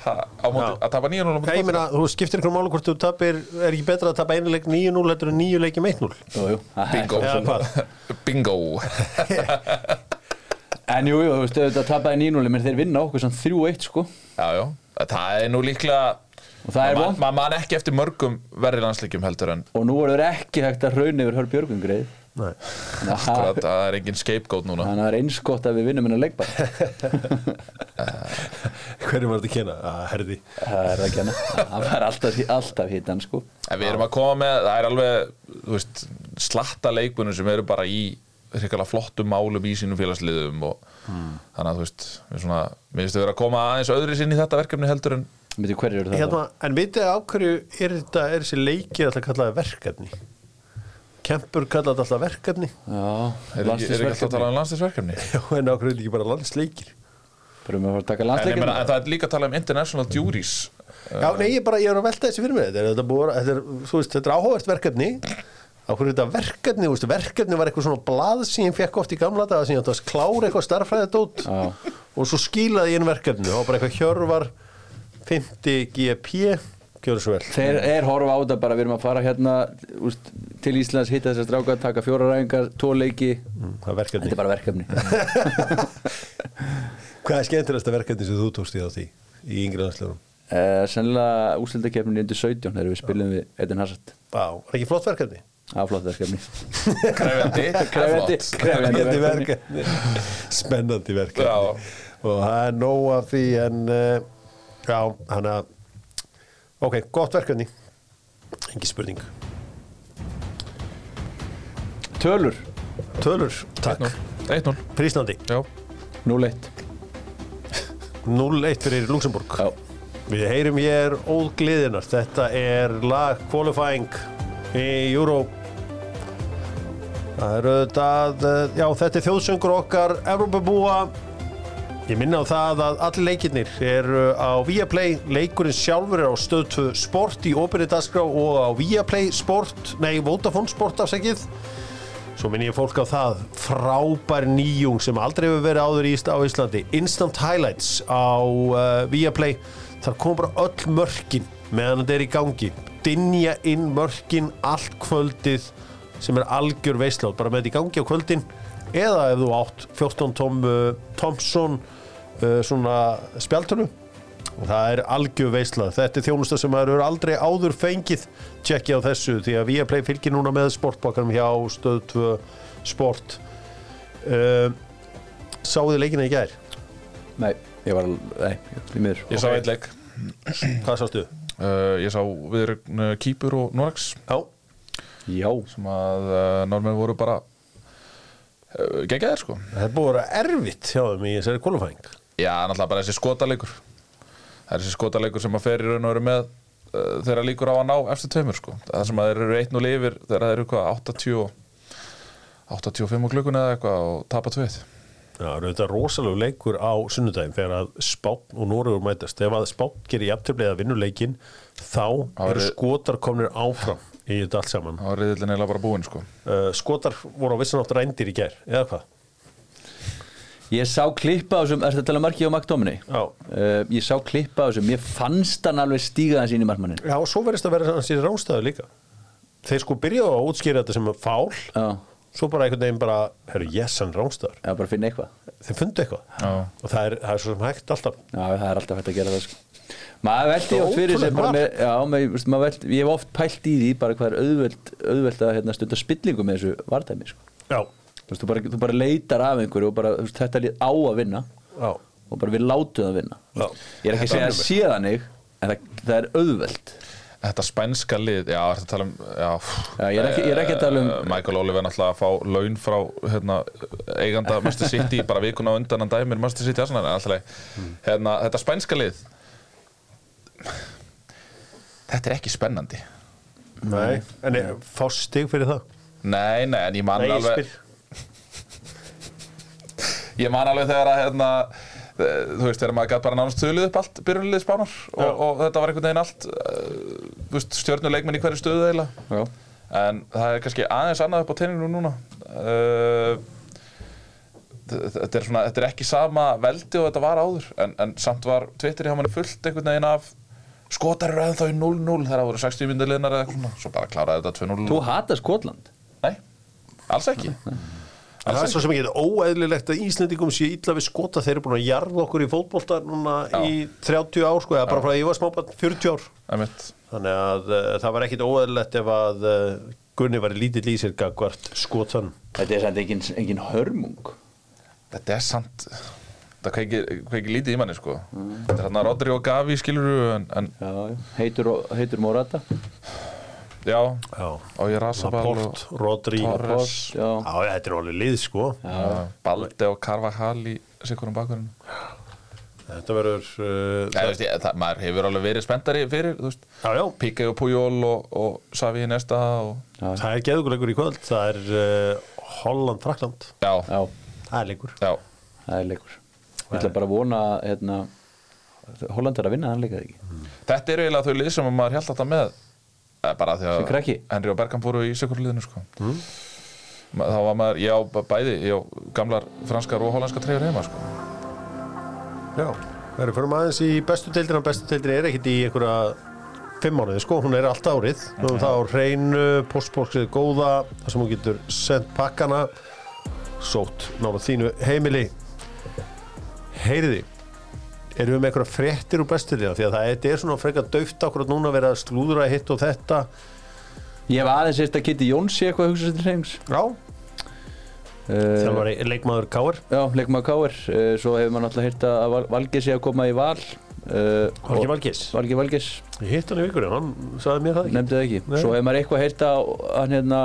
S3: ha, á móti,
S2: Já.
S3: Að tapa 9-0 á móti
S2: Hvað ég meina, þú skiptir einhverjum máli hvort þú tapir Er ekki betra að tapa einu leik 9-0 Þetta eru nýju leikjum 1-0
S4: Jú, jú. Það er-
S3: Bingo
S2: Eða hvað?
S3: Bingo
S4: En jú, jú, þú veist, auðvitað tapaði nínúli menn þeir vinna okkur samt þrjú eitt sko.
S3: Já, já, það er nú líklega
S4: Og það er
S3: Maður
S4: vont.
S3: man, man ekki eftir mörgum verri landsleikjum heldur en
S4: og nú verður ekki hægt að raun yfir Hörð Björgum greið
S2: Nei.
S3: hvað,
S4: Þannig
S3: það er engin scapegoat núna
S4: að það er eins gott að við vinnum hennar leik bara
S2: Hverjum var þetta að kenna? Að herði
S4: Það er ekki hana Það var alltaf, alltaf hittan sko
S3: En við erum að koma með, það er alveg þú veist, slatta leikbunum sem eru bara í hrikalega flottum málum í sínum félagsliðum og þannig að þú veist, við svona, mér finnst að vera að koma aðeins öðru sinni í þetta verkefni heldur en
S4: Veitir hverju eru það?
S2: hérna, En vitið þið á hverju er þetta Er þessi leikir alltaf kallaði verkefni? Kempur kallaði þetta alltaf verkefni
S4: Já,
S3: er ekki, er ekki alltaf að tala
S4: landslisverkefni
S3: um landslisverkefni
S2: Já, en á hverju er þetta ekki bara landsleikir?
S4: Fyrir mig að fara að taka
S3: en, ég meina,
S4: landsleikina
S3: en það er líka að tala um international juries
S2: Já, nei, ég, bara, ég er að velta þessi fyrir mér Þetta er, þetta búið, að- þetta er, þú veist, þetta er áhugavert verkefni Á hverju er þetta verkefni, þú veist, verkefni var eitthvað svona blað sem ég fekk oft í gamla daga sem ég átti að klára eitthvað starffræðadót
S4: Já.
S2: og svo skilaði ég inn verkefni og bara eitthvað hjörvar 50 GP Gjörðu svo vel
S4: Þeir er horfa á þetta bara, við erum að fara hérna úst, til Íslands, hitta þessar stráka, taka fjóra ræðingar, tvo leiki
S2: Það er verkefni
S4: Þetta er bara verkefni
S2: Hvað er skemmtilegasta verkefni sem þú tókst í þá því í yngri landslöfum?
S4: Eh, uh, Sennilega úsildakefnin í undir 17 þegar við spilum við Edin Hazard
S2: Vá, var ekki flott verkefni?
S4: Það er flott verkefni
S3: Krefjandi,
S4: Krefjandi,
S3: flott.
S4: krefjandi
S2: Spennandi
S4: verkefni
S2: verkefni Spennandi
S3: Já.
S2: verkefni Og það er nóg af því en uh, Já, hann að Ok, gott verkefni Engi spurning
S4: Tölur,
S2: Tölur, takk
S3: 1-0
S2: Príslandi,
S3: Já,
S4: 0-1
S2: 0-1 fyrir Luxemburg
S4: Já.
S2: Við heyrum hér ógliðinar Þetta er lag qualifying í Euro Það eru þetta Já, þetta er þjóðsöngur okkar Evropabúa Ég minna á það að allir leikirnir eru á Viaplay, leikurinn sjálfur er á stöðtu sport í opinni dagskrá og á Viaplay sport, nei Vodafone sport afsækið Svo minn ég fólk á það, frábær nýjung sem aldrei hefur verið áður í Ísla- á Íslandi. Instant Highlights á uh, Viaplay, þar kom bara öll mörkin meðan þetta er í gangi. Dinja inn mörkin allt kvöldið sem er algjör veislátt, bara með þetta í gangi á kvöldin. Eða ef þú átt 14 Tom, uh, Thompson uh, svona spjaltunum, og það er algjör veislað þetta er þjónusta sem maður eru aldrei áður fengið tjekki á þessu því að Viaplay fylgir núna með sportbakkanum hjá stöð 2 sport uh, sáðu þið leikina í gær
S4: Nei, ég var, nei, í miður
S3: ég sá eitt leik
S2: hvað sástu?
S3: uh, Ég sá við uh, Kýpur og Norex
S2: Já,
S4: Já,
S3: sem að uh, normenn voru bara uh, geggjæðir sko
S2: það er búið að vera erfitt hjá þeim í þessari kólufæng
S3: Já, náttúrulega bara þessi skotalegur Það er þessi skotalegur sem að fer í raun og veru með uh, þeirra líkur á að ná eftir tveimur sko Það sem að þeir eru einn og lifir þegar þeir eru hvað 80 og- 85 og klukkun eða eitthvað og tapa tveit
S2: það eru þetta rosalega leikur á sunnudaginn þegar að spátt og Noregur mætast ef að spátt gerir jafntöflega vinnuleikin þá eru
S3: eru-
S2: skotar komnir áfram í þetta allt saman
S3: Það var reyðilin eiginlega bara búinn sko
S2: uh, skotar voru á vissanátt rændir í gær eða hvað?
S4: Ég sá klippa á þessum, ertu að tala um markið á McDominay?
S2: Já.
S4: Uh, ég sá klippa á þessum, ég fannst hann alveg stíga hans inn í markmannin
S2: Já, og svo verðist að vera hans í rángstæðu líka. Þeir sko byrjaðu að útskýra þetta sem fál,
S4: Já,
S2: svo bara einhvern veginn bara, herru, yes, hann rángstæður.
S4: já bara finna eitthvað
S2: Þeir fundu eitthvað.
S3: Já.
S2: Og það er, það er svo sem hægt alltaf.
S4: Já, það er alltaf hægt að gera það sko Maður veldi
S2: Svo
S4: oft fyrir sér
S2: ótrúlegt
S4: bara
S2: mark.
S4: með, já, með, veist, maður veldi, ég hef oft pælt í því bara hvað er auðveld, auðveld að hérna, stunda spillingu með þessu vardæmi sko.
S2: Já,
S4: þú, veist, þú, bara, þú bara leitar af einhverju og bara þú veist, þetta er á að vinna
S2: já,
S4: og bara við látum það að vinna
S2: Já.
S4: Ég er ekki að segja að sé þannig en það, það er auðveld
S3: Þetta spænska lið, já, þetta tala um já,
S4: Já, ég er ekki- ég er ekki að tala um-
S3: Eh, Michael Oliver náttúrulega að fá laun frá hérna, eiganda Master City bara vikuna á undan hann dæmir Master City Arsenal, en alltaf leið.
S4: Hmm.
S3: hérna, þetta spænska lið Þetta er ekki spennandi
S2: nei. En er- fá stig fyrir það?
S3: Nei, nei, en ég man
S2: ég
S3: alveg
S2: spyr.
S3: Ég man alveg þegar að hérna, eh, þú veist, þegar maður gæti bara nánast tölið upp allt byrjunlið spánar og,
S2: Já.
S3: og þetta var einhvern veginn allt uh, veist, stjörnuleikmenn í hverju stöðu eiginlega
S4: Já,
S3: En það er kannski aðeins annað upp á teiningum núna uh, Þetta er, svona, þetta er ekki sama veldi og þetta var áður En, en samt var Twitter hjá manni fullt einhvern veginn af Skotar eru ennþá í 0-0 þegar það voru 60 myndir liðnar eða eitthvað svona Svo bara kláraði þetta 2-0
S4: þú hatar Skotland
S3: Nei, alls ekki
S2: En það er svo sem ekki óeðlilegt að Íslendingum sé illa við skota, þeir eru búin að jarða okkur í fótbolta núna í 30 ár, sko, eða bara frá að ég var smábann 40 ár.
S3: Einmitt.
S2: Þannig að uh, það var ekkit óeðlilegt ef að uh, Gunni var lítill í sér gagvart skotan.
S4: Þetta er samt engin, engin hörmung
S3: Þetta er samt Þetta kveikir, kveikir lítið í manni sko
S2: Mm.
S3: Þetta er hann að Rodri og Gavi skilur en, en
S4: Já, já. heitur, heitur Morata
S3: já
S2: Já.
S3: Og ég rasa bara
S2: Laporte, Rodri
S3: Torres.
S4: Post, já.
S2: Já, þetta er alveg lið sko
S3: Balde og Carvajal í sikurum bakverðinu
S2: Þetta verður uh,
S3: Nei, þú veist, ég, það, maður hefur alveg verið spenntari fyrir, þú veist,
S2: Já, já,
S3: Píkei og Pujól og, og Savi í næsta og...
S2: það er geðugulegur í kvöld Það er uh, Holland-Frakland
S3: Já, já,
S4: Já,
S2: Það er leikur
S3: já,
S4: það er leikur Ég ætla bara að vona að, hérna, Holland er að vinna hann leikaði ekki
S3: Þetta eru eiginlega þau lið sem maður held alltaf með eh, bara af því
S4: Sem krakki?
S3: að Henry og Bergkamp voru í sikurliðinu sko. mm. þá var maður, já, bæði já, gamlar franskar og hollandskar treyfur heima sko.
S2: Já, það eru fyrir aðeins í bestu deildina Bestu deildina er ekkit í einhverja Fimm mánuði sko, hún er allt árið Nú er það á reynu, postbóksið góða Það sem hún getur sendt pakkana Sótt nála þínu heimili Heyriði Erum við með einhverja fréttir úr bestu deildina Því að það þetta er svona frekar dauft akkurat núna að vera að slúðra hitt og þetta
S4: Ég hef aðeins eitt að Kitty Jóns sé eitthvað að hugsa sér til hreins
S2: Já,
S4: uh,
S2: þjálfari leikmaður Káir
S4: Eh, Já, leikum að káir uh, Svo hefur maður náttúrulega hýrt að Val- Valgeir sé að koma í val uh,
S2: Valgi
S4: og-
S2: Valgis,
S4: Valgeir Valgeis,
S2: ég hitt hann í vikunni hann sagði mér það ekki
S4: nefndi það ekki
S2: Nei.
S4: Svo hefur maður eitthvað hýrt að hann hérna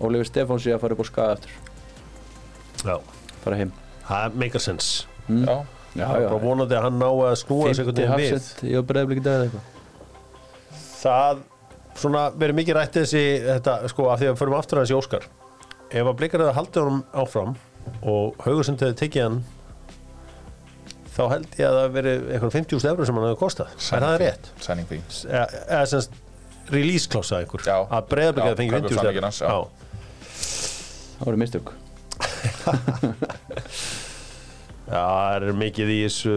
S4: Ólífur Stefán sé að fara upp á skaga aftur
S2: Já,
S4: fara heim
S2: það meikar sens
S3: Já,
S4: Já,
S2: bara vonandi að hann ná að snúa þessu
S4: Fymti
S2: einhvern veginn við
S4: hafsend, ég var breiðblik í dag eða eitthvað
S2: það svona verið mikið rætt þessi þetta sko af því að við förum aftur að þessi Óskar ef að blikar það haldið honum áfram og haugur sem þau tekið hann þá held ég að það veri eitthvað 50.000 eurur sem hann hefur kostað er það rétt?
S3: Sæning því
S2: S- e- eða semst release klása einhver
S3: Já.
S2: að breyðarblik
S3: Já,
S2: að fengi
S3: kaupa
S2: 50.000
S3: samninginn hans, já.
S2: eurur
S4: Það voru mistök
S2: Já, það er mikið í þessu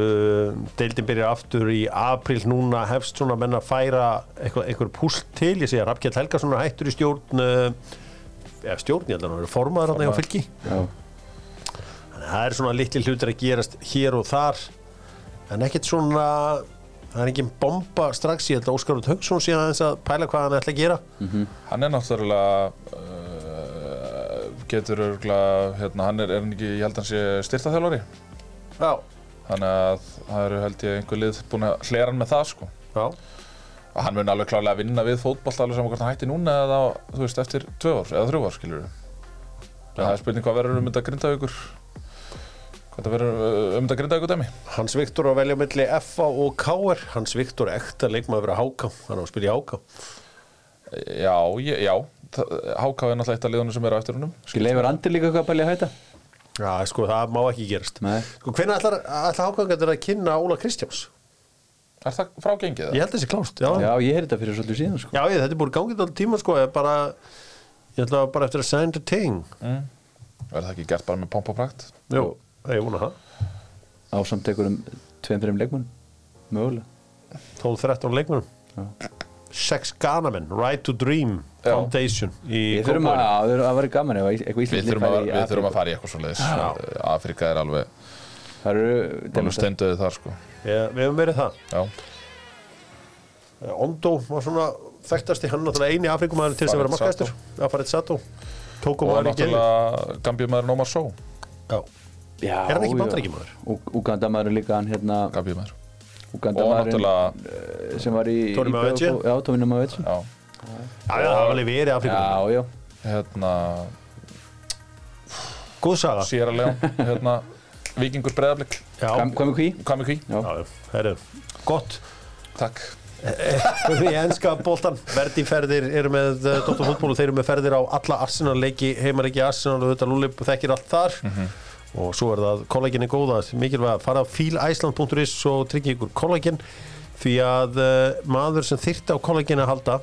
S2: deildin byrjar aftur í apríl núna hefst svona menn að færa eitthvað, einhver púsl til, ég segja Rafkjell Helgason er hættur í stjórn eh, eða stjórn, ég held að hann verið formaður hann hjá fylki
S4: Já,
S2: Þannig að það er svona litli hlutir að gerast hér og þar en ekkert svona það er engin bomba strax, ég held að Óskar Rútt Haugsson sé aðeins að pæla hvað hann ætla að gera
S3: Hann er náttúrulega uh, getur örgulega hérna, hann er, er hann ekki, ég held að hann sé styrtaþjálfari
S2: Já,
S3: þannig að það eru held ég einhver lið búin að hlera hann með það sko
S2: já,
S3: og hann mun alveg klárlega vinna við fótboll alveg saman hvort hann hætti núna eða á, þú veist eftir tvö ár eða þrjú ár skilur það er spurning hvað verður um þetta grindavíkur hvað það verður uh, um þetta grindavíkur dæmi
S2: Hans Viktor á velja á milli FA og KR Hans Viktor er ekta leikmaður verið að háka hann á að spila í háka
S3: já, ég, já Háká er náttúrulega eitt af liðunum sem eru á eftir húnum
S4: ekki leifur andir líka hvað bælja að hætta
S2: Já, sko, það má ekki gerast.
S4: Nei.
S2: Sko, hvernig ætlar, ætlar ákvæmgættur að kynna Óla Kristjáns?
S3: er það frágengið?
S2: Ég held þessi klást, já.
S4: Já, ég heyrði þetta fyrir svolítið síðan sko
S2: Já, ég, þetta er búin gangið alltaf tíma, sko, ég bara, ég ætla bara eftir að senda ting.
S3: verður það ekki gert bara með pomp og prakt?
S2: Jú, ég vona það.
S4: Á samtekur um tveim fyrir um leikmunum Mögulega
S2: 12-13 leikmennum. Sex ganamenn, Right to Dream
S3: Já.
S2: Foundation í
S4: Við þurfum að,
S2: Kópavogi.
S4: að, að vera gaman ef eitthvað
S3: Við
S4: íslenskt
S3: þurfum, að,
S4: í
S3: við þurfum að
S4: Afríku.
S3: fara í eitthvað svoleiðis. Afrika er alveg,
S4: Það eru
S3: alveg
S4: demóta.
S3: steindöðið þar sko.
S2: Já, Við hefum verið það.
S3: Já,
S2: Eh, Ondo var svona þekktasti, hann náttúrulega eini Afrikumæður til þess að vera
S3: Farid
S2: markæstur. Já, Farid Sato. Tókum
S3: og
S2: maður í geði.
S3: náttúrulega Gambíumæðurinn Ómar Só.
S2: Já.
S4: Já,
S2: Er hann ekki
S4: já.
S2: Bandaríkjamaður?
S4: Ú- Úgandamaðurinn líka hann hérna
S3: Gambíumæður. Og
S4: Úgandamaðurinn
S3: náttúrulega,
S4: eh, sem var í
S2: Tony
S4: í Breiðablik-
S2: Mavechi?
S4: Já, Tóminum að veitja
S3: já,
S2: Já, já, það var alveg verið Afrikumæður.
S4: Já, já
S3: hérna,
S2: Góð saga.
S3: Sierra Leone, hérna, Víkingur Breiðablík,
S2: Já.
S4: Kam- Hvað með hví?
S3: Kami Kví,
S4: Já,
S2: Já, herru, gott
S3: takk.
S2: Í enska bóltan, verði ferðir eru með uh, Dóttar fútból og þeir eru með ferðir á alla Arsenal leiki, heimareiki Arsenal og þetta Lúlip þekkir allt þar og svo er það kollaginni góða, mikilvæg að fara á fílæsland.is og tryggja ykkur kollagin því að uh, maður sem þyrta á kollagin að halda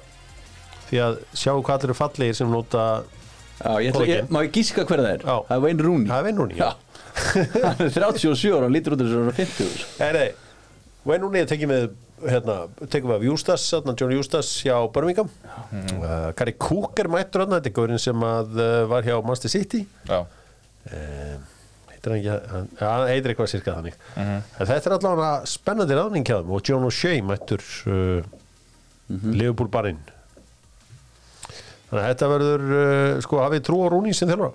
S2: því að sjáu hvað allir eru fallegir sem nota
S4: já ég ætla, ég,
S2: Kólagen.
S4: má ég gíska hver það er?
S2: Já.
S4: Það er Wayne Rooney
S2: Það er Wayne Rooney, já.
S4: Já. Hann er 37 ára, hann lítur út þessu ára 50 sko.
S2: Nei, nei, Wayne Rooney tekið með hérna, tekum við af Jústas, hérna, John Jústas hjá Birmingham mm. uh, Gary Cook er mættur hérna, þetta er gaurinn sem að, uh, var hjá Manchester City
S3: Já,
S2: heitir hann ekki, hann, ja, hann heitir eitthvað sirka þannig en þetta er allavega spennandi ráðning hjá þeim og John O'Shea mættur uh, Liverpool barinn þannig að þetta verður uh, sko, hafið trú á Rooney sem þjálfara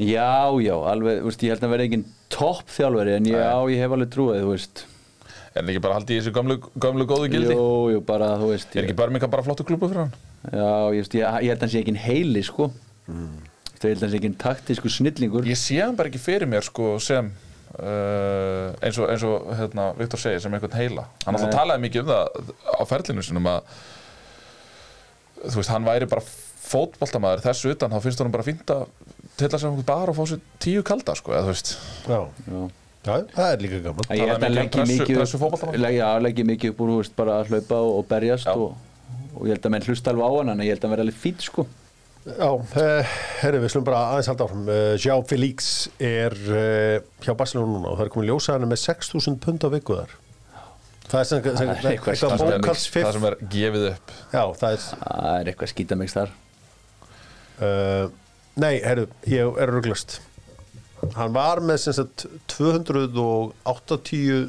S4: Já, já, alveg, þú veist, ég held að vera engin topp þjálfari en ég,
S3: Nei.
S4: já, ég hef alveg trúið, þú veist
S3: er hann ekki bara haldið í þessu gömlu, gömlu góðu gildi?
S4: Jú, jú, bara, þú veist
S3: Er
S4: ég,
S3: ekki Birmingham bara flottu klúbu fyrir hann?
S4: Já, ég, veist, ég, ég held að hann sé ekki heili, sko
S2: Mm.
S4: Þú held að hann sé ekki taktisku snillingur
S3: Ég sé hann bara ekki fyrir mér sko sem uh, eins og, eins og hérna, Viktor segir sem einhvern heila hann alltaf talaði mikið um það á ferlinu sinum að þú veist, hann væri bara fótboltamaður þessu utan, þá finnst honum bara fínt að tilla sér einhvern bar og fá sér tíu kalda sko, eða þú veist
S2: já.
S4: Já.
S2: já, það er líka gaman
S4: Ég held að hann
S3: Talaði
S4: leggi
S3: mikið um
S4: mikið
S3: pressu- pressu fótboltamann.
S4: legg, Já, leggi mikið upp úr, þú veist, bara að hlaupa og, og berjast
S3: Já.
S4: og, og ég held að menn hlusta alveg á hann en ég held að hann vera alveg fýtt, sko
S2: Já, uh, herru, við slum bara aðeins halda áfram. Uh, Sjá Felix er uh, hjá Barcelona núna og það er komin ljósaðan með 6.000 pund á viku þar. Það er sem, sem,
S4: Það er eitthvað
S2: eitthvað
S3: það sem er- það
S2: bókalsfiff.
S3: sem er gefið upp
S2: Já, það er,
S4: Það er eitthvað skítamix þar
S2: uh, nei, herru, ég er rugglast. Hann var með sem sagt 280,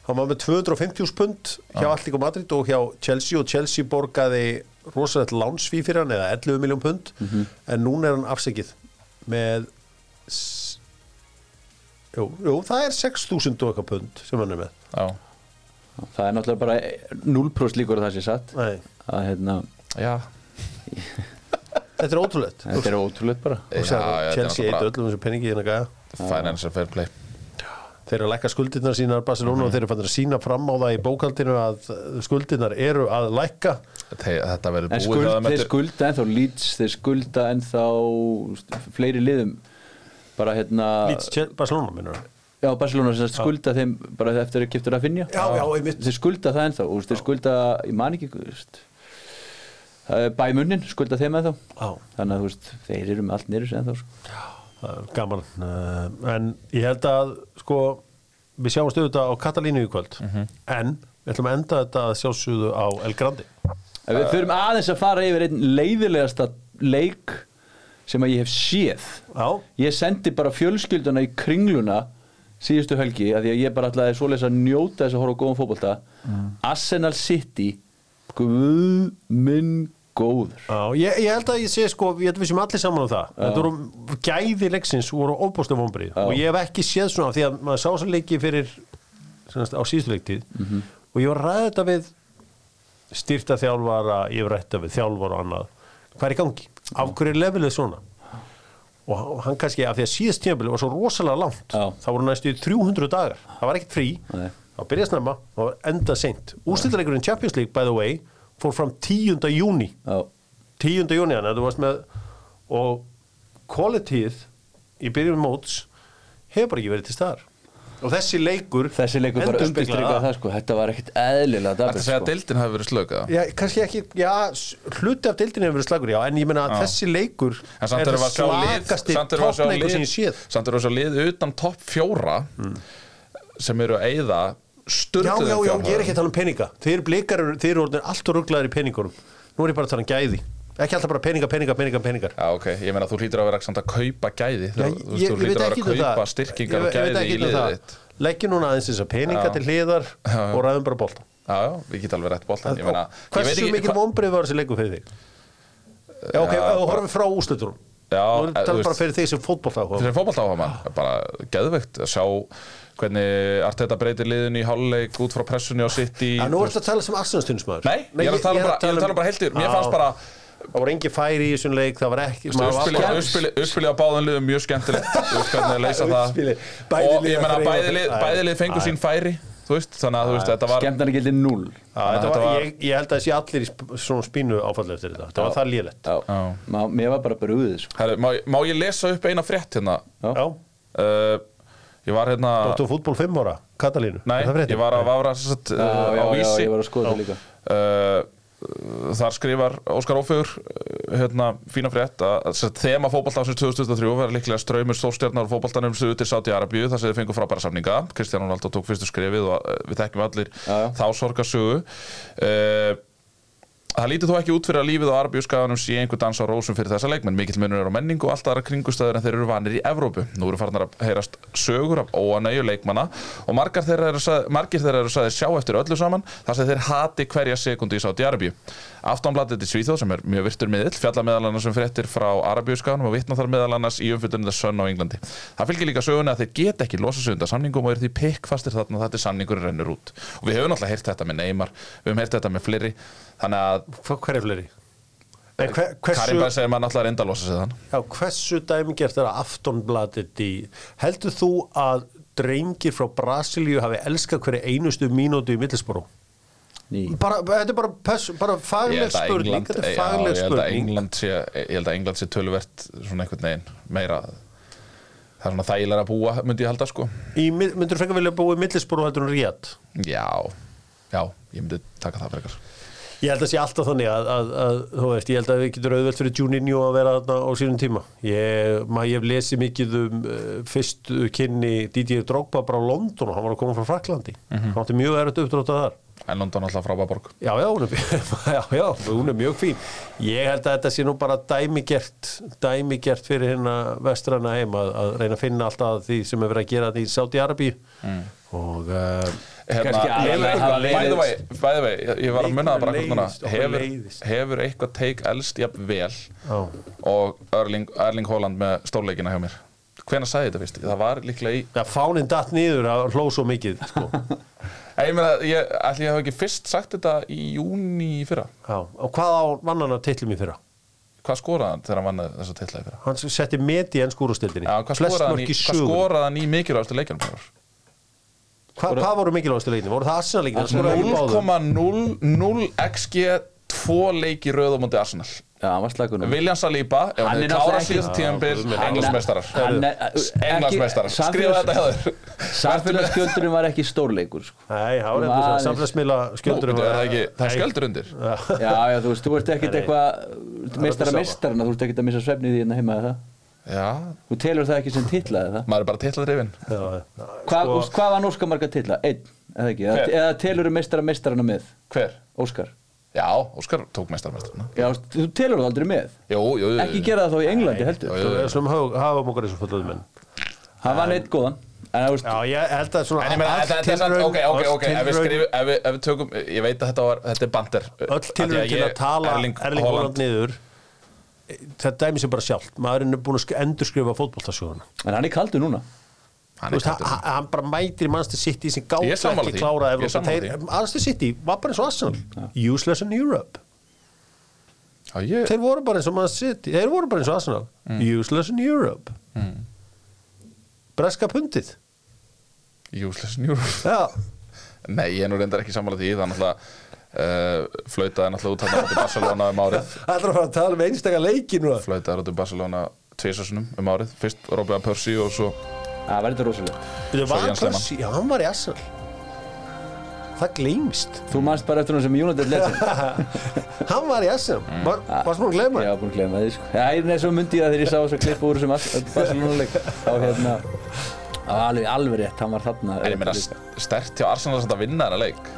S3: Ah.
S2: hann var með 250 pund hjá Allíko Madrid og hjá Chelsea og Chelsea borgaði rosalegt lánsfí fyrir hann eða 11 miljón pund
S3: Mhm.
S2: en núna er hann afsikið með s- jú, jú, það er 6.000 og eitthvað pund sem hann er með
S3: Já,
S4: það er náttúrulega bara 0% líkur að það sé satt
S2: Nei.
S4: að hérna,
S3: já,
S2: þetta er ótrúlegt
S4: þetta er ótrúlega bara
S2: Og
S3: Já, já,
S2: sagði,
S3: þetta er
S2: Chelsea
S3: náttúrulega
S2: eitt öllum þessum peningi hérna gæja
S3: financial fair play
S2: þeir eru að lækka skuldirnar sínar Barcelona og þeir eru fannir að sína fram á það í bókaldinu að skuldirnar eru að lækka
S3: Þe, Þetta verður
S4: En
S3: búið
S4: skuld,
S3: hjá þeim
S4: þeir
S3: eftir-
S4: skulda ennþá Leeds, þeir skulda ennþá st- fleiri liðum bara hérna
S2: Leeds, Chel- Barcelona minnur
S4: Já, Barcelona sem sagt skulda þeim bara eftir að kiptur að finja
S2: Já, já, einmitt.
S4: Þeir skulda það ennþá, úst, þeir skulda, ég man ekki úst, Bæmunnin skulda þeim ennþá
S2: Já.
S4: Þannig að úst, þeir eru með allt nýrjus ennþá sko.
S2: það er gaman uh, en ég held að sko við sjáum stöðu þetta á Katalínu í kvöld en við ætlum að enda þetta að sjálfsögðu á El Grandi
S4: En Við þurfum aðeins að fara yfir einn leiðilegasta leik sem að ég hef séð
S2: Já,
S4: Ég sendi bara fjölskylduna í kringluna síðustu helgi af því að ég bara ætlaði svoleiðis að njóta þess að horfa á góðan fótbolta Arsenal City Guð minn góður
S2: já ég, ég held að ég sé sko ég held að við séum allir saman um það þetta voru gæði leiksins voru óbústum vombrið og ég hef ekki séð svona af því að maður sá svo leiki fyrir sannast, á síðustu leiktið
S4: Mhm.
S2: og ég var ræðið þetta við styrta þjálfara, ég var rætt við þjálfara og annað, hvað er í gangi af hverju er levelið svona og hann kannski, af því að síðast tímabili var svo rosalega langt,
S4: Já.
S2: það voru næstu í 300 dagar, það var ekkert frí
S4: Nei.
S2: það var byrjað snemma, það var enda seint úrstildalekurinn Champions League, by the way fór fram 10. júni
S4: Já,
S2: 10. júni hann, þú varst með og kvalitíð í byrjun móts hefur bara ekki verið til staðar og þessi leikur
S4: þessi leikur bara
S2: endurspeglaði
S4: undirstrykað það sko Þetta var ekkert eðlilega
S3: Ertu
S4: dabur
S3: að segja að
S4: sko.
S3: deildin hafi verið slög eða?
S2: Já, kannski ekki, já, s- hluti af deildinu hefur verið slagur, já, en ég meina að þessi leikur
S3: En samt erum við að sjá lið
S2: slagasti
S3: samt erum við að sjá
S2: toppleikur sem
S3: lið-
S2: ég séð Mm.
S3: samt erum við að sjá lið utan topp fjóra sem eru að eyða
S2: Já,
S3: styrluðum
S2: já, já, ég er ekki að tala um peninga Þeir blikar, eru- þeir eru orðin allt og rugglaðir í peningunum Nú er ég bara að tala um gæði Ekki alltaf bara peninga, peninga, peninga, peningar
S3: Já, ok, ég meina þú hlýtur að vera samt að kaupa gæði
S2: Já,
S3: Þú,
S2: ég,
S3: þú,
S2: ég,
S3: þú
S2: veit
S3: hlýtur að
S2: ekki
S3: vera að
S2: um
S3: kaupa
S2: það Ég-
S3: styrkingar og
S2: ég veit
S3: gæði í
S2: ekki um
S3: liðið
S2: það.
S3: þitt
S2: Leggjum núna aðeins þess að peninga
S3: Já.
S2: til hliðar
S3: já.
S2: og ræðum bara bolta
S3: Já, já, við getum alveg rétt boltan Ég meina, ég veit
S2: Hversu
S3: ekki
S2: mikil
S3: hva-
S2: vombrið var þessi leikur fyrir þig? Já, ok,
S3: Já,
S2: og
S3: bara-
S2: horfum frá úsluturum
S3: Já,
S2: Nú
S3: eh, þú
S2: tala bara
S3: veist-
S2: fyrir þig sem fótbolta
S3: Þessi fótballt áhuga mann, bara geðveikt að sjá hvernig Arteta breytir liðinu í háluleik út frá pressunni og sitt í
S2: Já, nú ertu að tala sem Arsenal-stunismæður
S3: Nei, ég er að tala bara,
S2: um-
S3: ég er að tala bara heiltir Mér fannst bara
S2: Það voru engi færi í þessum leik, það var ekki maður var
S3: uppspilið-
S2: bara-
S3: uppspilið uppspilið á báðum liðum mjög skemmtilegt Þú veist hvernig að leysa það
S2: Uppspilið. Bæði
S3: og
S2: lið
S3: ég meina
S2: að þreifa
S3: bæði lið,
S2: fyrir-
S3: bæði lið
S2: Æ.
S3: fengu sín færi þú veist, þannig að þú veist, þetta var
S4: Skemmtarni gildi 0
S2: Já, þetta
S3: Þetta
S2: var,
S3: var-
S2: Ég, ég held að þessi allir í sp- svona spínu áfall eftir þetta Það var það lélegt
S4: Já, Má, mér var bara brúðið sko.
S3: Herru, má, má ég lesa upp eina frétt hérna
S4: Já.
S2: Já,
S3: uh, ég var hérna
S2: áttu fútból 5 ára, Katalínu
S3: nei,
S2: Er það fréttin?
S3: ég var að vafra sem sagt,
S4: já,
S3: uh, á
S4: já, já,
S3: vísi
S4: ég var að skoða það líka
S3: uh, þar skrifar Óskar Ófegur uh, hérna, fína frétt að, að sem sagt, þema fótballtafsins 2023 verður líklega ströymur stórstjarnar og fótballtanum suðu til Sáti Arabíu þar sem þið fengu frábæra samninga Kristján Ronaldo tók fyrstu skrifið og uh, við þekkjum allir
S4: Já, já.
S3: þá sorgarsögu uh, Það lítur þó ekki út fyrir að lífið á arbjúskaganum sé einhver dans á rósum fyrir þessa leikmenn. Mikill munur er á menningu og allt aðra kringustæður en þeir eru vanir í Evrópu. Nú eru farnar að heyrast sögur af óanægju leikmanna og margar þeirra eru, sag- margir þeirra eru sagðir sjá eftir öllu saman þar sem þeir hati hverja sekundu í Sáti Arabíu. Aftanblatið til Svíþjóð sem er mjög virtur miðill fjalla meðal annars um fréttir frá arbjúskaganum og vitna þar meðal annars í umfyllunum The Sun á Englandi. Það fylgir líka söguna að þeir get ekki losa sig undan samningum og eru því pikkfastir þarna þetta samningur rennur út. Og við höfum náttúrulega heyrt þetta með Neymar, við höfum heyrt þetta með fleiri, þannig að
S2: Hva, Hver er fleiri? Nei, hver,
S3: Karim
S2: hversu,
S3: bara segir maður náttúrulega reynda að losa sig þann
S2: já, hversu dæmigert er að aftonblatit í Heldur þú að drengir frá Brasilíu hafi elskað hverju einustu mínútu í Middlesboro?
S4: Ný.
S2: Mm. Bara, þetta er bara, pers, bara
S3: Ég
S2: fagleg
S3: held að
S2: spurning Þetta
S3: England
S2: er
S3: já,
S2: fagleg
S3: Ég held að
S2: spurning
S3: England sé Ég held að England sé töluvert svona einhvern veginn meira Það er svona þægilega að búa myndi ég halda sko
S2: Í mið- Myndirðu frekar vilja búa í Middlesboro heldur en Ríad?
S3: Já Já, ég myndi taka það frekar
S2: Ég held að sé alltaf þannig að, að, að þú veist, ég held að við getur auðvelt fyrir Juninho að vera þarna á sínum tíma. Ég, maður, ég hef lesið mikið um uh, fyrst kynni Didier Drogba bara á London og hann var að koma frá Fraklandi. Hann átti mjög erut uppdrátað þar.
S3: En London alltaf frábæð borg
S2: Mhm. Já, já, hún er, já, já, hún er mjög fín. Ég held að þetta sé nú bara dæmigert, dæmigert fyrir hérna vestrana Mm. heim að, að reyna að finna alltaf því sem er verið að gera þetta í Saudi-Arabi og... Uh,
S3: hérna,
S4: Kannski
S3: hefur
S4: aðalega
S3: eitthvað-
S4: hafa
S3: by the
S4: leiðist.
S3: way, by the way, ég- ég var að munna það bara akkur núna
S2: Leiðist, okkur
S3: hefur,
S2: leiðist.
S3: hefur eitthvað teik elst jafn vel
S2: Já.
S3: og Erling, Erling Haaland með stórleikina hjá mér hvenær sagði ég þetta fyrst? það var líklega í
S2: Já, fáninn datt niður að hló svo mikið sko.
S3: Nei, ég meina, ég, ætli ég hafa ekki fyrst sagt þetta í júni í fyrra
S2: Já, og hvað á vannan að tillum í fyrra?
S3: hvað skoraði hann þegar hann vann þessa titla í fyrra?
S2: Hann setti met í ennskúrustildinni
S3: Já, hvað skoraði hann í, hvað
S2: Hvað,
S3: skoraði hann í mikilvægastu leikjum?
S2: hvað, hvað voru mikilvægastu leikinu? Voru það Arsenal leikinu? Hann skoraði ekki báðum.
S3: 0,00 XG 2 leiki rauðum undir Arsenal
S4: Já, hann var slagunum
S3: William Saliba, ef
S4: Mm. Hann
S3: hann
S4: er
S3: er
S4: náttúrulega
S3: klára
S4: ekki-
S3: síðast tíðanbyrð
S4: Hann-
S3: Englandsmeistarar
S4: hann er-
S3: Englandsmeistarar,
S4: ekki-
S3: skrifa þetta hjá þér
S4: Samfélagsgjöldurinn var ekki stórleikur sko.
S2: Nei, það var
S4: Hann
S2: eitthvað
S4: var
S2: samfélagsmiðla skjöldur
S3: Nú, byrju, er það ekki- Það er skjöldur undir
S4: Já, já, þú veist, þú ert ekkert eitthvað meistara
S2: sama.
S4: meistarana, þú ert ekkert að missa svefni því hérna heima eða það
S3: Já,
S4: Þú telur það ekki sem titlaði það
S3: maður er bara titladrifin
S4: Hva,
S2: Sko-
S4: sko, Hvað var Óskar marga titla? Einn, eða ekki? Eða,
S3: Hver?
S4: eða telur þú meistara meistarana með?
S3: Hver?
S4: Óskar
S3: Já, Óskar tók meistarmeistarna
S4: Já, þú veist, þú telur það aldrei með
S3: Jú, jú, jú
S4: Ekki gera það þá í Englandi heldur
S3: jú,
S2: Svona hafum okkur eins og fulluðum menn
S4: Hann var neitt góðan En þú veist,
S2: Já, ég held að svona
S3: En ég meina,
S2: öll
S3: þetta þetta er samt,
S2: tilraun-
S3: ok, ok,
S2: öll
S3: ok, ef við
S2: tilraun-
S3: skrifum, ef við, ef við tökum, ég veit að þetta var, þetta er bandir.
S2: öll tilraun til að tala Erling, Haaland niður það dæmi sem bara sjálft maðurinn er búin að sk- endurskrifa fótboltasjóðuna
S4: en hann er kaldur núna
S3: Hann
S2: Þú
S3: er
S2: veist, hann,
S3: kaldur.
S2: hann- hann bara mætir í Manchester City sem gátt
S3: Ég er sammála
S2: ekki
S3: því.
S2: klára
S3: Ég er
S2: Evrópa
S3: sammála
S2: Þeir-
S3: því.
S2: Manchester City var bara eins og Arsenal useless in Europe
S3: Já, ég,
S2: þeir voru bara eins og Manchester City þeir voru bara eins og Arsenal useless in Europe breska pundið
S3: useless in Europe.
S2: já,
S3: Nei, ég er nú reyndar ekki sammála því, það er náttúrulega, uh, flautaði náttúrulega út hann út í Barcelona um árið.
S2: það er að fara að tala um einstaka leiki núna
S3: Flautaði út í Barcelona tvisasunum um árið. Fyrst Robin Persi og svo,
S4: Það var þetta rosalega
S2: Byrju,
S3: Svo
S2: var
S3: Jens Lehmann.
S2: Persi- já, hann var í Arsenal það gleymist
S4: Þú manst bara eftir hann sem United legend
S2: hann var í Arsenal var, varst múin að gleyma því?
S4: Ég var búin að glemma því sko. Já, nei, svo myndi ég það þegar ég sá þess að klippa úr sem Barcelona-leik Þá hérna Það var alveg, alveg rétt, hann var þarna
S3: en ég meina, st- sterkt hjá Arsenal samt að vinna þennan leik.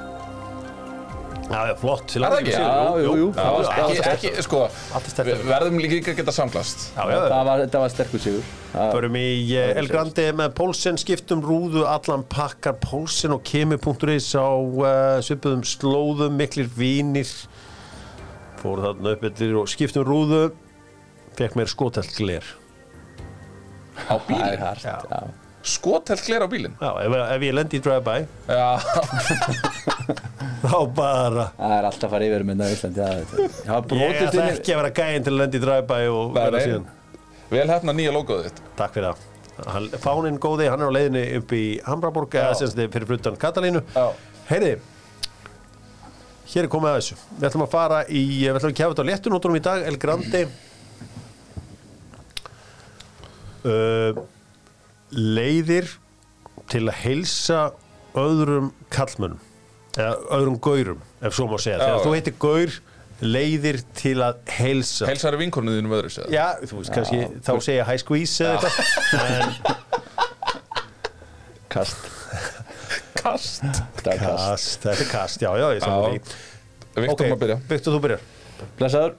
S2: Já, já, flott til
S3: Er það
S2: hamingju
S3: ekki?
S2: með
S4: Já,
S2: sigurinn.
S4: jú, jú,
S3: Já,
S4: það var- það var
S3: ekki,
S4: sterkt.
S3: ekki, sko,
S2: Allt er sterkt.
S3: við verðum líka ekki að geta samglast.
S2: Já, já, já.
S4: Það var, þetta var sterkur sigur Það-
S2: Förum í eh, El Grande með Pólsen, skiptum rúðu, allan pakkar Pólsen og kemi.is á uh, svipuðum slóðum, miklir vínir. Fóru þarna upp eftir og skiptum rúðu, fekk mér skotelt gler.
S3: Á
S4: Það er
S3: bílinn.
S4: hart, já
S3: Skotelt gler á bílinn.
S2: Já, ef, ef ég lendi í drive-by,
S3: Já,
S2: þá bara...
S4: Það er alltaf að fara yfir mynda á Íslandi það er þetta. Það var
S2: Ég
S4: brotist
S2: ætla
S4: inn í
S2: ekki að vera gæinn til að lendi í drive-by og
S3: Nei,
S2: vera
S3: nei.
S2: síðan.
S3: vel hefna nýja logoðið þitt.
S2: Takk fyrir það. Hann, fáninn góði, hann er á leiðinni upp í Hamraborg, eða sem þetta er fyrir frutan Katalínu.
S3: Já.
S2: Heyri, hér er komið að þessu. Við ætlum að fara í, við ætlum að kæfa þetta á léttunóttunum í dag, El Grandi. Uh, leiðir til að heilsa öðrum kallmönnum, eða öðrum gaurum, ef svo má segja.
S3: Já.
S2: Þegar þú heitir gaur, leiðir til að heilsa.
S3: Helsar er vinkornu þínum öðru sér.
S2: Já, þú veist, kannski þá segja high squeeze eða eitthvað en
S4: Kast
S3: Kast.
S4: Það er kast
S2: kast, þetta er kast, já, já, ég saman
S3: Já.
S2: Ok,
S3: Viktor okay. maður byrja.
S2: Viktor, þú byrjar
S4: Blessaður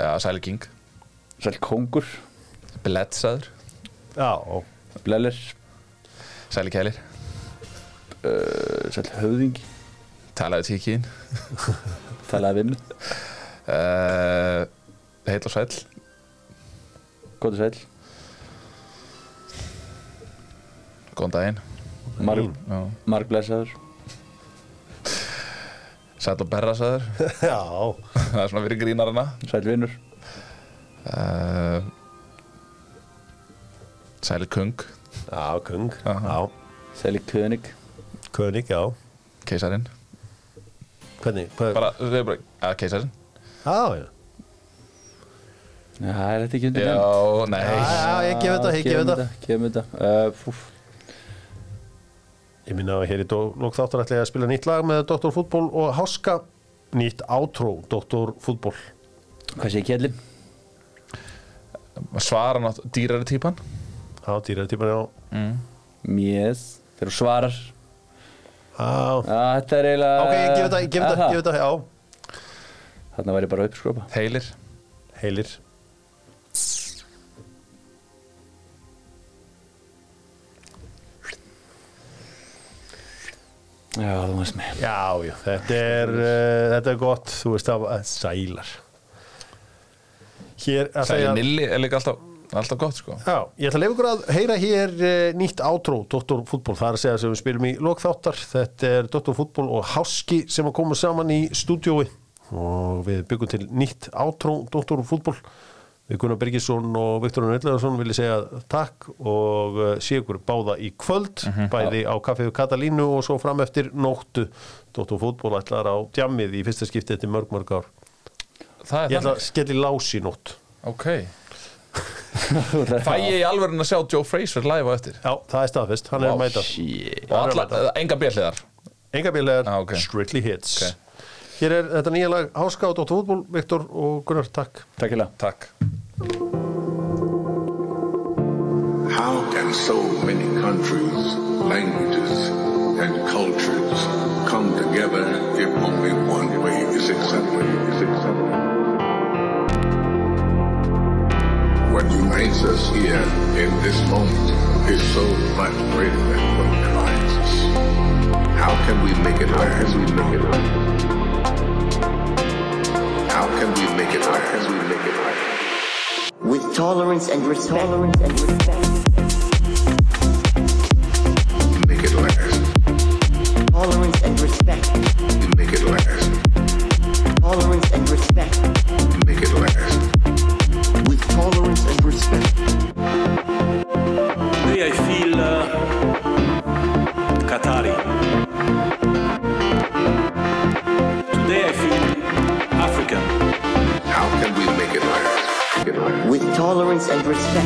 S3: Já, Sæli King.
S4: Sæl kongur
S3: Bledsaður.
S2: Já,
S4: Bleller
S3: Sæli Kælir.
S4: Sæl höfðingi
S3: Talaði tíkiðin.
S4: Talaði við mig
S3: Uh, heil og sæll.
S4: Góður sæl
S3: Góðan daginn.
S4: Marg,
S3: Já.
S4: marg blessaður
S3: Sæll og berrasaður.
S2: já,
S3: Það er svona fyrir grínarana.
S4: Sæl vinnur
S3: Uh, Sæli Kung.
S2: já, kung
S3: Aha.
S2: Já,
S4: Sæli könig
S2: könig, já
S3: Keisarin.
S2: Hvernig, hvað,
S3: Bara, þú segir bara, að keisarin.
S2: já, já
S4: Já, er þetta ekki undir
S3: Já,
S4: nefnd?
S3: nei.
S2: Já, já, ég gef þetta, ég gef
S4: gefum
S2: þetta
S4: Gefum þetta Uh, fúff.
S2: Ég minna að hér í lók þáttar ætla ég að spila nýtt lag með Dr. Fútból og Háska Nýtt átró, Dr. Fútból
S4: Hvað sé kjellin?
S3: Svara nátt, dýrari típan.
S2: Já, dýraði tíma, já
S4: Mjöð Þegar þú svarar
S2: Já,
S4: Já, þetta er eiginlega
S2: ok, ég gef þetta, ég gef
S4: Er
S2: þetta,
S4: það?
S2: ég gef þetta, já
S4: Þarna væri bara að uppskrópa
S3: Heilir.
S2: Heilir
S4: Já, þú veist mig
S2: Já, já, þetta er, uh, þetta er gott, þú veist það, var- sælar. Hér, ætla ég
S3: Sæli
S2: að-
S3: Nilli er líka alltaf, alltaf gott sko
S2: Já, ég ætla að leifa ykkur að heyra hér eh, nýtt átró, Dr. Fútból, það er að segja sem við spilum í lokþáttar, þetta er Dr. Fútból og Háski sem að koma saman í stúdiói og við byggum til nýtt átró, Dr. Fútból, við Gunnar Birgisson og Viktor Nöldlegarsson vilja segja takk og eh, sé ykkur báða í kvöld, bæði á kaffið Katalínu og svo fram eftir nóttu, Dr. Fútból ætlar á djamið í fyrsta skipti eftir mörg mörg ár.
S3: Það
S2: Ég
S3: er
S2: ætla að
S3: þannig
S2: skelli lás í nótt.
S3: Ok Fæ ég í alvörun að sjá Joe Fraser live á eftir
S2: Já, það er staðfest, hann er að mæta.
S4: Shit.
S3: Og alla, enga bjelliðar
S2: Enga bílegar,
S3: Ah, ok.
S2: strictly hits
S3: Ok.
S2: Hér er þetta nýja lag Háska og Dóttur Fútból, Viktor og Gunnar, takk
S4: Takk hérlega
S3: Takk
S7: How can so many countries, languages, and cultures come together if only one way is accepted? Is accepted? What unites us here in this moment is so much greater than what divides us. How can we make it last? How can we make it last? How can we make it last? How can we make it last?
S8: with tolerance and respect. Tolerance and respect.
S7: Make it last.
S8: Tolerance and respect.
S7: Make it last.
S8: Tolerance and respect.
S7: Make it last.
S8: With tolerance and respect.
S9: Því að ég fíla Katari Today I feel African
S7: How can we make it last? Make it last.
S8: With tolerance and respect.